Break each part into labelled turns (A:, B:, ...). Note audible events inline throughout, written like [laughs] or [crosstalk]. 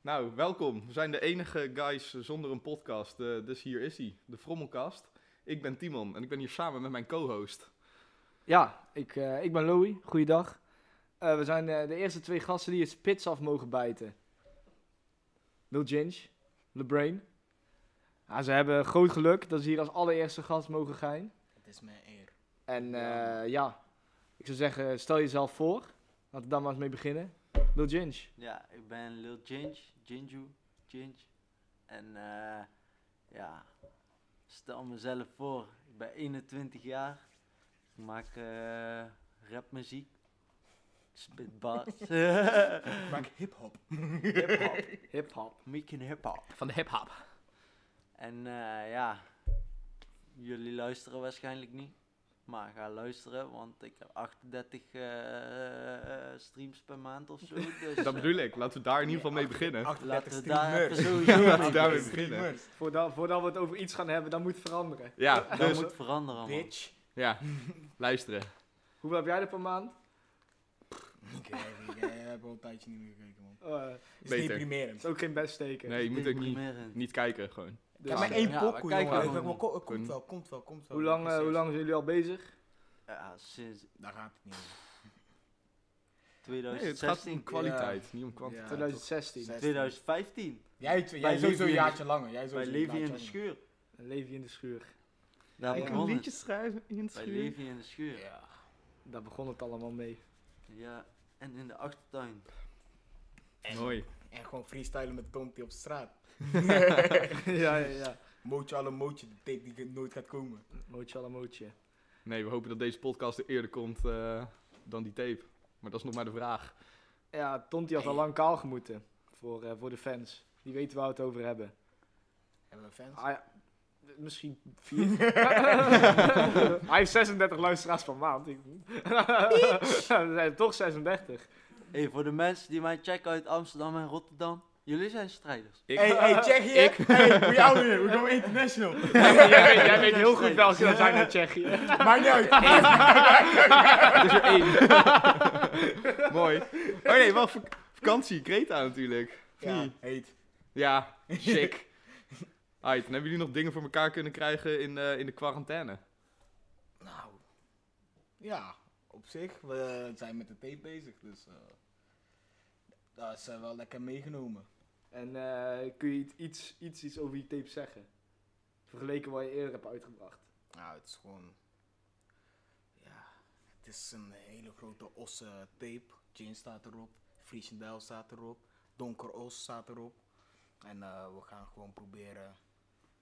A: Nou, welkom. We zijn de enige guys zonder een podcast, eh, dus hier is hij, de Frommelkast. Ik ben Timon en ik ben hier samen met mijn co-host.
B: Ja, ik, eh, ik ben Louis. Goeiedag. Eh, we zijn eh, de eerste twee gasten die het spits af mogen bijten. Lil Ginge, LeBrain. Ja, ze hebben groot geluk dat ze hier als allereerste gast mogen gaan.
C: Het is mijn eer.
B: En eh, ja, ik zou zeggen, stel jezelf voor. Laten we daar maar eens mee beginnen. Lil Ginge.
D: Ja, ik ben Lil Ginge, Ginju, Ginge. En eh, ja, stel mezelf voor, ik ben 21 jaar. Ik maak eh, rapmuziek. Ik spit [laughs] bars.
C: Ik maak
A: [laughs]
C: hip-hop.
D: Hip-hop.
B: Hip-hop.
D: Making hip-hop.
A: Van de hip-hop.
D: En eh, ja, jullie luisteren waarschijnlijk niet. Maar ga luisteren, want ik heb 38 eh, streams per maand of zo. Dus,
A: Dat
D: eh,
A: bedoel ik, laten we daar in ieder geval mee beginnen.
C: 38
D: Laten we daar
C: streamers.
D: even
C: [laughs]
D: sowieso
A: Laten we daarmee
C: 38
A: beginnen.
C: streamers.
B: Voordat, voordat we het over iets gaan hebben, dat moet het veranderen.
A: Ja,
D: dat
A: dus,
D: moet veranderen, man.
C: Bitch.
A: ja, luisteren.
B: Hoeveel heb jij er per maand?
C: Ik eh, jij hebt al een tijdje niet meer gekeken, man.
B: Eh,
C: Het is
A: Beter.
B: het
C: deprimerend.
B: is ook geen best steken.
A: Nee, je moet ook niet,
D: Deprimerend.
A: niet kijken, gewoon.
C: Ik
B: Dus,
C: heb maar
B: eh,
C: één
D: Ja,
C: pokoe,
D: maar kijk
C: jongen.
A: gewoon.
C: Ik denk, ko- Komt
A: Kun-
C: wel, komt wel, komt wel.
B: hoe, lang, eh, hoe lang zijn jullie al bezig?
D: Ja, sinds
C: Daar gaat het niet om.
A: Nee, het gaat om
D: 2016.
A: kwaliteit, niet om kwantiteit.
C: Ja,
B: 2016.
C: toch.
D: 2015.
C: Jij, tw- jij
D: Bij
C: sowieso een
D: Levi in de-
C: jaartje langer. Jij
D: Bij
C: sowieso een
D: Levi in de
C: jaartje
D: schuur.
B: Een leven in de schuur.
D: Daar
B: Ik
D: begon het.
A: schrijven in het
D: Bij Levi in de
C: langer.
D: schuur.
C: Ja.
B: Daar begon het allemaal
A: [laughs]
B: mee.
D: Ja, en in de achtertuin.
A: Mooi.
C: En gewoon freestylen met Tomty op
A: [laughs]
C: straat.
B: ja, ja, ja.
C: Mootje alle mootje, de tape die nooit gaat komen.
B: Mootje alle mootje.
A: Nee, we hopen dat deze podcast er eerder komt eh, dan die tape. Maar dat is nog maar de vraag.
B: Ja, Tonti had al lang kaal gemoeten. Voor, eh, voor de fans. Die weten waar we het over hebben.
C: Hebben we fans?
B: Ah, ja, eh, Misschien
A: [laughs]
B: vier. [laughs] Hij heeft 36 luisteraars per maand. Ik- [laughs] We zijn er
A: [laughs]
B: toch 36.
D: hey, voor de mensen die mij checken uit Amsterdam en Rotterdam. Jullie zijn strijders.
A: Ik,
C: Hey, hey, check hier.
A: [laughs] Ik-
C: Hey, hoe jou weer? We go international.
B: jij, weet, jij weet heel goed welke dat zijn uit Tsjechië.
C: Maakt niet uit.
A: [laughs] is er één. [laughs] Mooi. Oh nee, wacht. vak- Vakantie, Kreta natuurlijk. Of
C: Ja,
A: niet?
C: heet.
A: Ja, sick. Aight, en hebben jullie nog dingen voor elkaar kunnen krijgen in, eh, in de quarantaine?
C: [laughs] Nou, ja, op zich. We zijn met de tape bezig, dus eh dat is eh, wel lekker meegenomen.
B: [laughs] En eh, kun je iets- iets, iets, iets over die tape zeggen? Vergeleken wat je eerder hebt uitgebracht.
C: Nou, het is gewoon, ja, het is een hele grote osse tape. Jane staat erop, Friesendel staat erop, Donker Os staat erop. En eh, we gaan gewoon proberen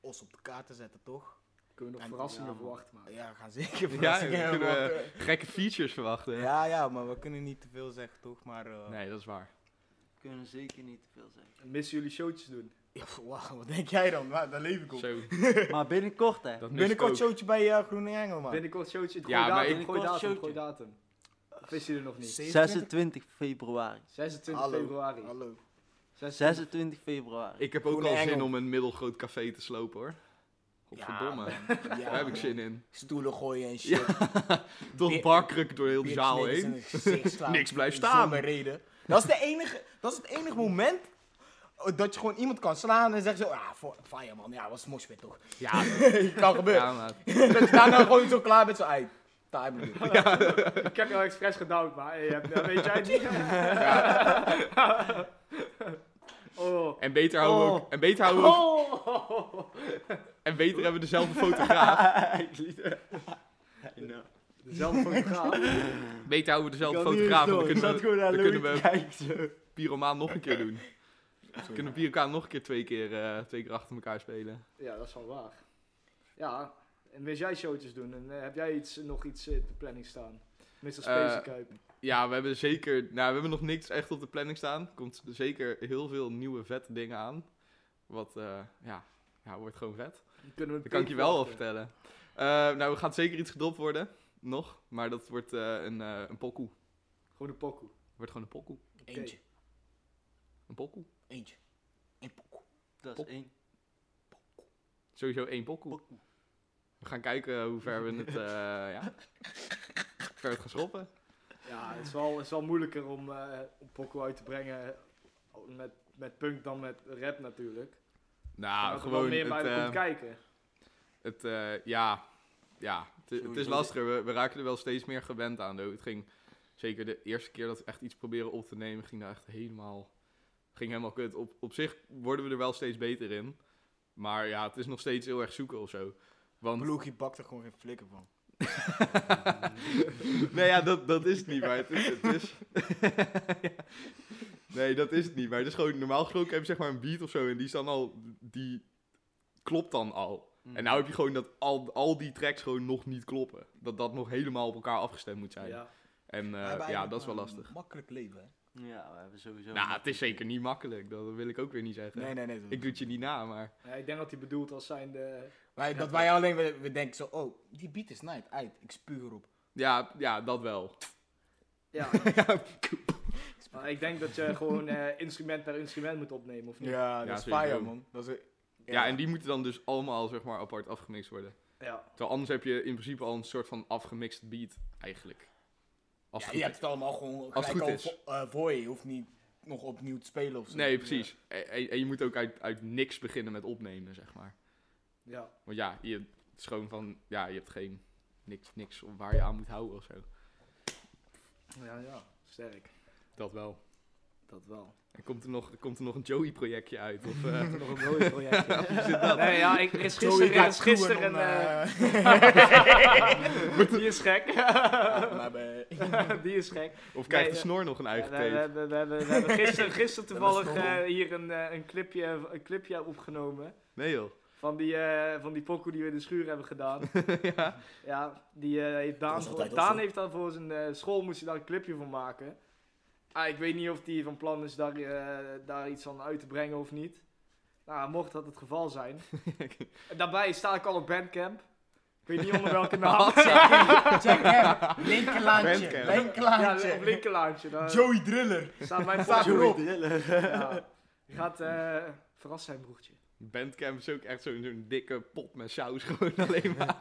C: Os op de kaart te zetten, toch?
B: Kunnen we nog
C: En-
B: verrassingen
D: ja, man.
B: verwachten maken?
C: Ja, we gaan [laughs] zeker
A: Ja,
C: verrassingen
A: we
C: hebben,
A: kunnen eh, gekke features verwachten.
C: want, eh, ja, ja, maar we kunnen niet te veel zeggen, toch? Maar, eh,
A: Nee, dat is waar.
D: Kunnen zeker niet te veel
A: [laughs]
D: zeggen.
B: Missen jullie showtjes doen?
C: Ja, [laughs] wauw, wat denk jij dan? Waar- Daar leef ik op.
A: Zo,
D: Maar binnenkort, hè.
A: dat mis ik
C: Binnenkort
A: ook.
C: showtje bij eh Groene Engel, man.
B: Binnenkort showtje. Gooi
A: Ja, maar
B: datum,
A: ik-
B: gooi
D: Binnenkort
B: datum, gooi
D: showtje.
B: datum. Of is hij er nog niet?
D: 26 februari.
B: 26
C: Hallo.
B: februari.
C: Hallo.
D: 26 [laughs] februari.
A: Ik heb ook
C: Groene
A: al zin
C: engel.
A: om een middelgroot café te slopen hoor. Godverdomme.
C: Ja,
A: [laughs] Daar heb ik
C: man.
A: zin in.
C: Stoelen gooien en shit.
A: Toch
C: Beer-
A: barkruk door heel de zaal
C: Bitch,
A: heen.
C: niks in het gezicht slaan.
A: Niks blijft staan.
C: Zonder reden. Dat is, de enige, dat is het enige moment dat je gewoon iemand kan slaan en zegt zo, ah, vo- fire man, ja, was moshpit toch.
A: Ja,
C: [laughs] kan gebeuren.
A: ja, maar.
C: [laughs] Dat je daarna gewoon zo klaar bent, zo, ei,
A: [laughs]
C: time bedoel.
B: Ik heb jou expres gedouwd, maar hey, je hebt- dat weet jij het
C: [laughs]
B: niet. [laughs] oh.
A: En beter houden we ook. En beter houden we ook.
B: Oh.
A: En beter hebben we dezelfde fotograaf.
B: Dezelfde
C: [laughs]
B: fotograaf.
A: Beter houden we dezelfde fotograaf. want Dan kunnen we, dan kunnen we
D: kijken zo.
A: Pyromaan nog een keer [laughs] doen. Dan kunnen we Pyromaan nog een keer twee keer, eh, twee keer achter elkaar spelen.
B: Ja, dat is wel waar. Ja, en wist jij showtjes doen? En eh, heb jij iets, nog iets in de planning staan? Mr.
A: Eh,
B: Space Kuip.
A: Ja, we hebben zeker... Nou, we hebben nog niks echt op de planning staan. Er komt zeker heel veel nieuwe vette dingen aan. Wat, eh, ja, ja, wordt gewoon vet.
B: Kunnen we
A: Dat kan ik je wel al vertellen. Eh, nou, er gaat zeker iets gedropt worden. Nog. Maar dat wordt eh, een, eh een pokoe.
B: Gewoon de pokoe.
A: Wordt gewoon een pokoe.
C: Eentje,
A: Een pokoe.
C: eentje. Eén pokoe.
D: Dat is
A: Pop.
D: één.
A: Sowieso één pokoe. We gaan kijken hoe ver we het, eh ja, [laughs] hoe ver we het gaan schoppen.
B: Ja, het is wel, het is wel moeilijker om eh, om Poco uit te brengen met Met punk dan met rap natuurlijk.
A: Nou,
B: dat er wel
A: gewoon
B: meer
A: het,
B: bij
A: eh,
B: komt kijken.
A: het eh, ja, ja, het, het is
D: Sowieso.
A: lastiger. We, we raken er wel steeds meer gewend aan. though. Het ging, zeker de eerste keer dat we echt iets proberen op te nemen, ging daar echt helemaal, ging helemaal kut. Op, op zich worden we er wel steeds beter in. Maar ja, het is nog steeds heel erg zoeken of zo. Want [laughs]
C: Bloegie bakt er gewoon geen flikker van.
A: nee, ja, dat, dat is het niet, maar het is... Het is [laughs] Ja. Nee, dat is het niet, maar het is gewoon... Normaal gesproken heb je zeg maar een beat of zo en die is dan al... Die klopt dan al.
D: Mhm. Mm.
A: En nou heb je gewoon dat al, al die tracks gewoon nog niet kloppen. Dat dat nog helemaal op elkaar afgestemd moet zijn.
B: Ja.
A: En eh,
C: We hebben
A: ja,
C: eigenlijk
A: dat is wel
C: maar
A: lastig.
C: een Makkelijk leven, hè?
D: Ja, we hebben sowieso...
A: Nou, het is zeker niet makkelijk. Dat wil ik ook weer niet zeggen.
C: Nee, nee, nee.
A: Ik doe het je niet na, maar...
B: Ja, ik denk dat hij bedoelt als zijnde...
A: [laughs]
C: Wij, dat wij alleen, we, we denken zo, oh, die beat is night, uit, ik spuug erop.
A: Ja, ja dat wel.
B: Ja, maar ik denk dat je gewoon eh, instrument per instrument moet opnemen, of niet?
C: Ja,
A: Ja,
C: dat is
A: zeker.
C: fire, man. Dat is,
A: ja, en die moeten dan dus allemaal zeg maar apart afgemixt worden.
B: Ja.
A: Terwijl anders heb je in principe al een soort van afgemixt beat, eigenlijk. Als het
C: Ja, je
A: goed
C: hebt het allemaal gewoon
A: Als het
C: gelijk
A: goed is.
C: al vo- eh, voor je. Je hoeft niet nog opnieuw te spelen of
A: is.
C: zo.
A: Nee, precies. En, en- en je moet ook uit, uit niks beginnen met opnemen, zeg maar.
B: ja.
A: Want ja, je, het is gewoon van... Ja, je hebt geen... Niks, niks om waar je aan moet houden of zo.
B: Ja, ja. Sterk.
A: Dat wel.
B: Dat wel.
A: En komt er nog, komt er nog een Joey-projectje uit? Of, eh,
B: [laughs] Nog een mooi projectje.
A: dat?
B: nee, ja, ik, er is
C: Zo, je
B: gisteren, er
C: gaat
B: is gisteren een...
C: screwen om,
B: eh,
C: eh,
B: [laughs] die is gek.
C: ja, maar bij-
B: die is gek.
A: of krijgt
B: Nee,
A: de snor nog een
B: Ja,
A: eigen
B: we, we
A: tape?
B: hebben, we hebben, we hebben
A: [laughs]
B: gisteren, gisteren toevallig
C: Dat is nog
B: eh, hier een, eh, een, clipje, een clipje opgenomen.
A: Nee joh.
B: Van die, eh van die pokoe die we in de schuur hebben gedaan.
A: [laughs] ja.
B: Ja, die eh, heeft Daan,
C: was
B: voor,
C: altijd al
B: Daan
C: zo.
B: heeft daar voor zijn eh, school moest hij daar een clipje van maken. Ah, ik weet niet of hij van plan is daar, eh, daar iets van uit te brengen of niet. Nou, mocht dat het geval
A: [laughs]
B: zijn. En daarbij sta ik al op Bandcamp. Ik weet niet
A: [laughs]
B: onder welke naam.
C: check, check hem. Linkerlaantje.
A: Bandcamp.
B: ja,
C: Linkerlaantje.
B: op Linkerlaantje. Daar
C: Joey Driller.
B: staat mijn
C: Staat
B: foto
C: erop.
B: Ja. Gaat eh verrast zijn, broertje.
A: Bandcamp is ook echt zo'n zo'n dikke pot met saus [laughs] gewoon alleen maar.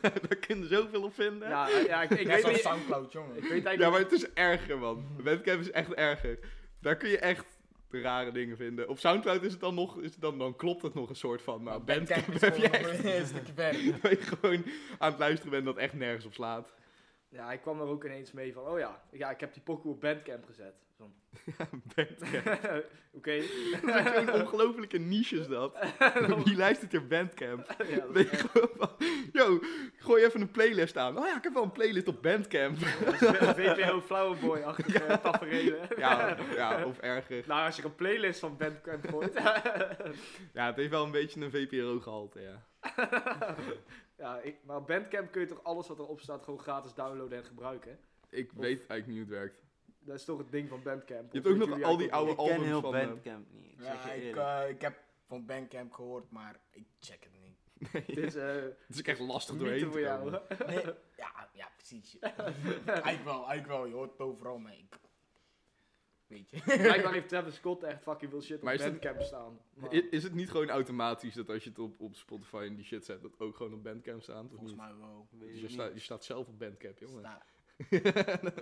A: Daar kunnen zoveel op vinden.
B: Ja, eh, ja ik, ik
C: Ik
B: weet
C: weet
B: niet. Ik
C: Soundcloud, jongen.
B: weet eigenlijk
A: Ja, maar het is erger, man. Bandcamp is echt erger. Daar kun je echt rare dingen vinden. Op Soundcloud is het dan nog, is het dan, dan klopt het nog een soort van. Maar Bandcamp
C: is
A: heb je
C: gewoon
A: echt,
C: nog een stukje verder.
A: [laughs] waar je gewoon aan het luisteren bent dat echt nergens op slaat.
B: Ja, ik kwam er ook ineens mee van, oh ja, ja ik heb die pokoe op Bandcamp gezet. Van, [laughs]
A: Bandcamp.
B: Oké.
A: Zo'n ongelofelijke niche is dat. Wie luistert er Bandcamp?
B: Ja, dat
A: Ben
B: is
A: je
B: echt-
A: gewoon van, yo, gooi even een playlist aan. Oh ja, ik heb wel een playlist op Bandcamp.
B: dat is een VPO Flowerboy-achtige ja. tafereelen.
A: Ja, ja, of erger.
B: Nou, als je een playlist van Bandcamp gooit. [laughs]
A: Ja, het heeft wel een beetje een VPRO-gehalte, ja.
B: ja, ik, maar op Bandcamp kun je toch alles wat erop staat gewoon gratis downloaden en gebruiken.
A: Ik
B: Of-
A: weet eigenlijk niet hoe het werkt.
B: Dat is toch het ding van Bandcamp.
A: Je hebt
B: Of
A: ook nog
B: weten jullie
A: al die
B: eigenlijk ook
A: oude
D: ik ken
A: albums
D: heel
A: van... eh,
D: Bandcamp niet, ik zeg
C: Ja,
D: je
C: ik,
D: eerlijk.
C: eh, ik heb van Bandcamp gehoord, maar ik check het niet.
B: niet? Het is eh
A: het is ook echt lastig
B: moeite
A: doorheen te
B: voor jou.
A: komen.
C: Nee, ja, ja, precies. Eigenlijk wel, eigenlijk wel. Je hoort het overal, maar ik... Weet je.
B: Blijkbaar heeft Travis Scott echt fucking veel shit op
A: Maar is dat-
B: Bandcamp staan. Maar-
A: I- Is het niet gewoon automatisch dat als je het op, op Spotify en die shit zet, dat ook gewoon op Bandcamp staat? Of
C: Volgens
A: niet?
C: mij wel.
D: Weet
A: Dus
D: ik
A: je,
D: niet.
A: staat je staat zelf op Bandcamp, jongen. [laughs]
C: Sta- Ja,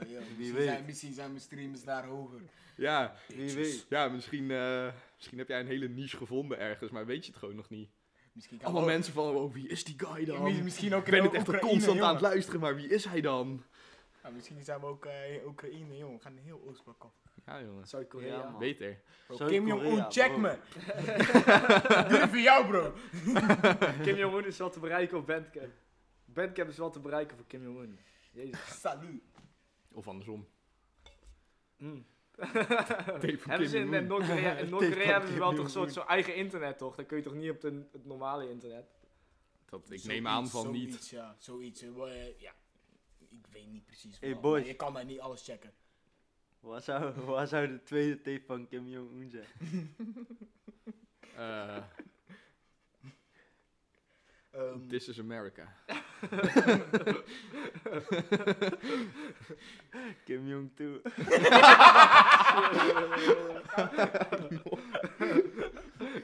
C: joh, misschien,
D: weet.
C: zijn, misschien zijn mijn streams daar hoger.
A: Ja,
D: Wie weet.
A: ja misschien, eh, misschien heb jij een hele niche gevonden ergens, maar weet je het gewoon nog niet.
C: Misschien kan
A: Allemaal
C: ook-
A: mensen van, oh, wie is die guy dan?
C: Mi- Misschien ook
A: Ik ben
C: in
A: het echt al
C: Oekraïne,
A: constant aan het
C: jongen.
A: luisteren, maar wie is hij dan?
C: Ja, misschien zijn we ook eh, in Oekraïne, jongen. We gaan de heel Oostblok af.
A: Ja, jongen.
B: Zuid-Korea.
D: Ja,
C: Ah.
D: man.
A: Beter.
C: Bro,
D: Zuid-Korea,
C: Kim Jong-un, check
D: bro.
A: [laughs]
C: me! Durf je jou, bro!
B: Kim Jong-un is wel te bereiken op Bandcamp. Bandcamp is wel te bereiken voor Kim Jong-un. Jezus.
C: Salut!
A: Of andersom.
D: [laughs]
B: Mm.
A: van
B: Hebben ze
A: Kim
B: in,
A: Jong-un.
B: in Noord-Korea in
D: Tape van
B: Noord-Korea hebben ze
D: Kim
B: wel toch
D: Jong-un.
B: soort zo'n eigen internet toch? Dan kun je toch niet op de, het normale internet.
D: [laughs]
A: Dat, ik
C: Zoiets,
A: neem aan van
C: zoiets,
A: niet.
C: Ja, zoiets. eh, wel, eh, ja. Ik weet niet precies.
D: Hey,
C: wat,
D: boys.
C: maar Je kan daar niet alles checken.
D: Waar zou, [laughs] waar zou de tweede tape van Kim Jong-un zijn? [laughs]
A: Eh,
C: Ehm,
A: This is
C: [laughs]
A: America.
D: Kim Jong-2.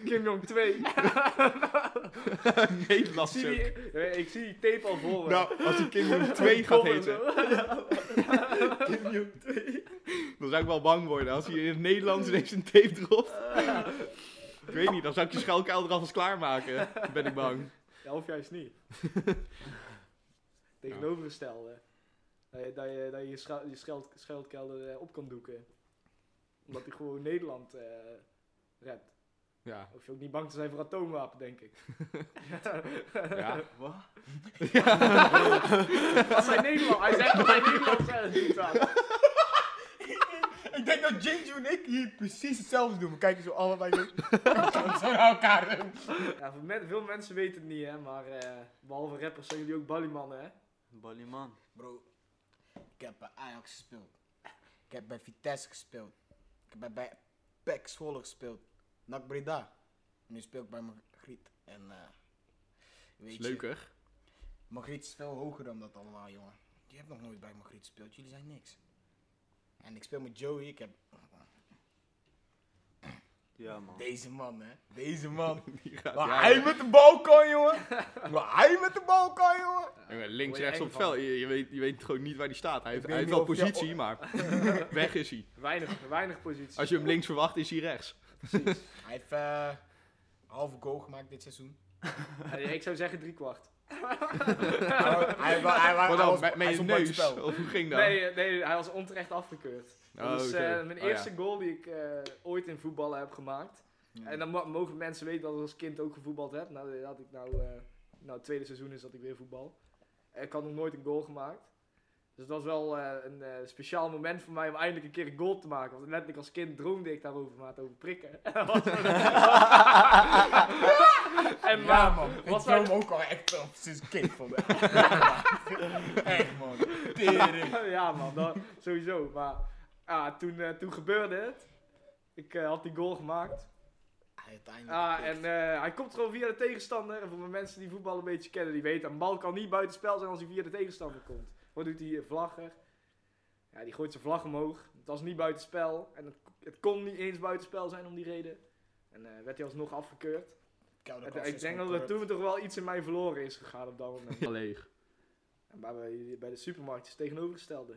B: Kim Jong
D: [laughs]
B: 2.
A: Nederlands
B: zie die,
A: ook.
B: eh, ik zie die tape al voor me.
D: Nou,
A: [laughs]
C: [laughs]
A: Nou, als die Kim Jong 2 gaat
B: Kom en
A: heten,
B: zo.
A: Kim Jong 2. Dan zou ik wel bang worden als hier in het Nederlands ineens een tape
C: [laughs]
A: dropt. ik weet niet, dan zou ik je schuilkuil er alvast klaarmaken. Ben ik bang.
B: Ja, of juist niet. Tegenovergestelde. Dat je dat je, dat je, je, schuil- je scheld, scheldkelder eh, op kan doeken. Omdat hij gewoon Nederland eh redt.
A: Ja.
B: Hoef je ook niet bang te zijn voor atoomwapen, denk ik.
A: [laughs] ja.
D: Wat?
A: [laughs]
B: Als [laughs] hij Nederland, hij zegt dat hij Nederland eh, doet aan.
C: Ehm, Ik denk dat Ginger en ik hier precies hetzelfde doen. We kijken zo allebei
A: [laughs]
C: zo zo naar elkaar.
B: Ja, voor men- veel mensen weten het niet, hè. Maar eh, behalve rappers zijn jullie ook ballymannen, hè.
D: Ballyman.
C: Bro, ik heb bij Ajax gespeeld. Ik heb bij Vitesse gespeeld. Ik heb bij- bij PEC Zwolle gespeeld. NAC Breda. Nu speel ik bij Margriet. En eh weet
A: Is
C: je, [laughs]
A: leuker.
C: Margriet is veel hoger dan dat allemaal, jongen. Je hebt nog nooit bij Margriet gespeeld. Jullie zijn niks. En ik speel met Joey. Ik heb
D: Ja, man.
C: deze man, hè. Deze man.
A: Die gaat- [laughs]
C: Waar
A: ja,
C: hij
A: ja.
C: met de bal kan, jongen. Waar hij met de bal kan, jongen.
A: Jongen, links,
B: Word je
A: rechts
B: eng
A: op het
B: van.
A: veld. Je, je weet, je weet gewoon niet waar die staat. Hij heeft,
C: weet
A: hij heeft wel
C: niet of je-
A: positie, maar
C: [laughs]
A: weg is hij.
B: Weinig, weinig positie.
A: Als je hem links verwacht, is hij rechts.
C: Hij heeft eh halve goal gemaakt
A: [laughs]
C: dit seizoen.
B: Ja, ik zou zeggen driekwart.
C: hij, hij, wa- hij, wa-
A: Wat
C: hij
A: dan?
C: was-
A: Met, met
C: hij
A: je
C: stond bij het
A: neus? [laughs]
C: spel.
A: Of hoe ging dat?
B: Nee, eh, nee, hij was onterecht afgekeurd.
A: Oh,
B: dat is
A: zo.
B: eh,
A: Oh,
B: mijn
A: ja.
B: eerste goal die ik eh, ooit in voetballen heb gemaakt.
C: Ja.
B: En dan mo- mogen mensen weten dat ik als kind ook gevoetbald heb. Nou, dat ik nou, eh, nou, het tweede seizoen is dat ik weer voetbal. Eh, Ik had nog nooit een goal gemaakt. Dus het was wel eh, een eh, speciaal moment voor mij om eindelijk een keer een goal te maken. Want letterlijk als kind droomde ik daarover, maar het over prikken. [laughs] en maar-
C: En ja, man. Ik
B: wat
C: droom
B: wij-
C: ook al echt al sinds kind van
B: [laughs]
C: mij. [laughs] echt, man. Tering.
B: [laughs] ja, man, dat, sowieso. Maar ah, toen, eh, toen gebeurde het. Ik eh, had die goal gemaakt.
C: Uiteindelijk.
B: Ah, en eh, hij komt gewoon via de tegenstander. En voor de mensen die voetbal een beetje kennen, die weten, een bal kan niet buitenspel zijn als hij via de tegenstander komt. Wat doet hij? Vlagger. Ja, die gooit zijn vlag omhoog. Het was niet buitenspel. En het, het kon niet eens buitenspel zijn om die reden. En eh, werd hij alsnog afgekeurd.
C: Koude
B: En,
C: kast
B: ik
C: is
B: denk
C: gewoon
B: dat er
C: corrupt.
B: toen toch wel iets in mij verloren is gegaan op dat moment. [laughs]
A: Leeg.
B: en bij, bij- bij de supermarkt is het tegenovergestelde.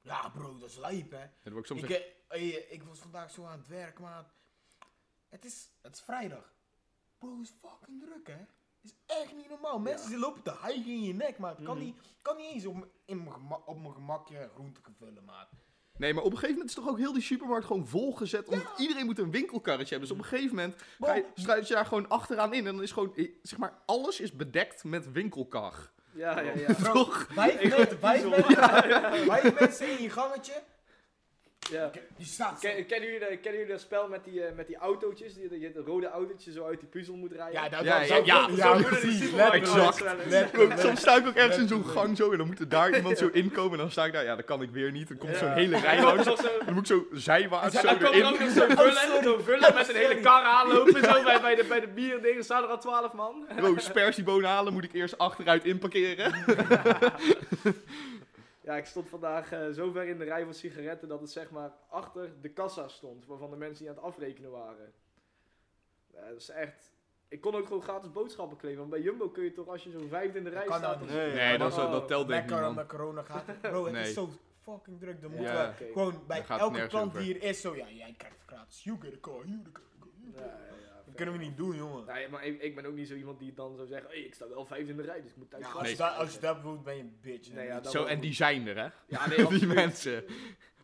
C: Ja, bro, dat is lijp, hè.
A: Dat word ik soms
C: Ik,
A: echt-
C: eh, ey, ik was vandaag zo aan het werk, maat. Het is, het is vrijdag. Bro, is fucking druk, hè? Is echt niet normaal. Mensen lopen te hijgen in je nek, maat. Ik Kan,
B: Mhm.
C: niet, kan niet eens op m- in mijn gema- op mijn gemakje groente vullen,
B: [laughs]
C: maat.
A: Nee, maar op een gegeven moment is toch ook heel die supermarkt gewoon volgezet. Omdat iedereen moet een winkelkarretje hebben. Dus op een gegeven moment
C: Bro,
A: ga je, sluit je daar gewoon achteraan in. En dan is gewoon, eh, zeg maar, alles is bedekt met winkelkar.
B: Ja, ja, ja.
A: [laughs] Toch?
B: [laughs]
C: Vijf,
B: Ik
C: men- vijf,
B: piezel.
C: men- vijf mensen in je gangetje.
B: [laughs] ja.
C: Die staat zo.
B: Ken- Kennen jullie, dat- kennen jullie dat spel met die, eh, met die autootjes? Die, die, dat rode autootje zo uit die puzzel moet rijden?
C: Ja, dat
A: Ja,
C: dat
A: ja,
C: zou-
A: ja.
B: Zo
C: ja,
B: moeten die
C: precies.
B: supermarkten
A: Exact.
B: ook wel eens.
C: Let-
A: Ook, soms sta ik ook ergens in zo'n
C: Letterlijk.
A: gang zo en dan moet er [laughs] daar iemand zo inkomen en dan sta ik daar, ja, dat kan ik weer niet. Dan komt zo'n
B: Ja.
A: hele rij
B: Dat
A: langs.
B: is toch zo-
A: Dan moet ik zo zijwaarts
B: Ja,
A: zo
B: dan kwam er ook
A: erin.
B: nog zo'n vullen, zo'n vullen met een hele kar aanlopen. Zo bij, bij de, bij de bierdingen staan er al twaalf man.
A: Bro, spersiebonen halen moet ik eerst achteruit inparkeren.
B: Ja, ik stond vandaag eh, zo ver in de rij van sigaretten dat het zeg maar achter de kassa stond. Waarvan de mensen die aan het afrekenen waren. Ja, dat is echt... Ik kon ook gewoon gratis boodschappen claimen. Want bij Jumbo kun je toch als je zo'n vijfde in de rij
C: kan
B: staat...
C: dat
B: dan-
C: niet.
A: Nee, dat, is-
B: Oh.
A: dat telt denk ik niet,
C: Lekker om
A: man.
C: naar corona gaat. Bro, het
A: Nee.
C: is zo fucking druk. Dan
B: Ja,
C: moeten we
B: oké.
C: gewoon bij
A: Daar gaat
C: elke
A: nergens
C: klant
A: over.
C: die hier is zo. Ja, jij krijgt gratis. You get a car, you get a car. you get a
B: Ja,
C: car.
B: ja, ja,
C: Dat kunnen we niet doen, jongen.
B: Nee, maar ik, ik ben ook niet zo iemand die dan zou zeggen, hey, ik sta wel vijfde in de rij, dus ik moet
C: Ja,
B: thuis
C: als,
B: gaan.
A: Nee.
C: je dat, als je dat bedoelt, ben je een bitch.
B: Nee, ja, dat-
A: Zo, en die zijn er, hè?
B: Ja,
A: [laughs]
B: nee,
A: Die
B: absoluut.
A: mensen.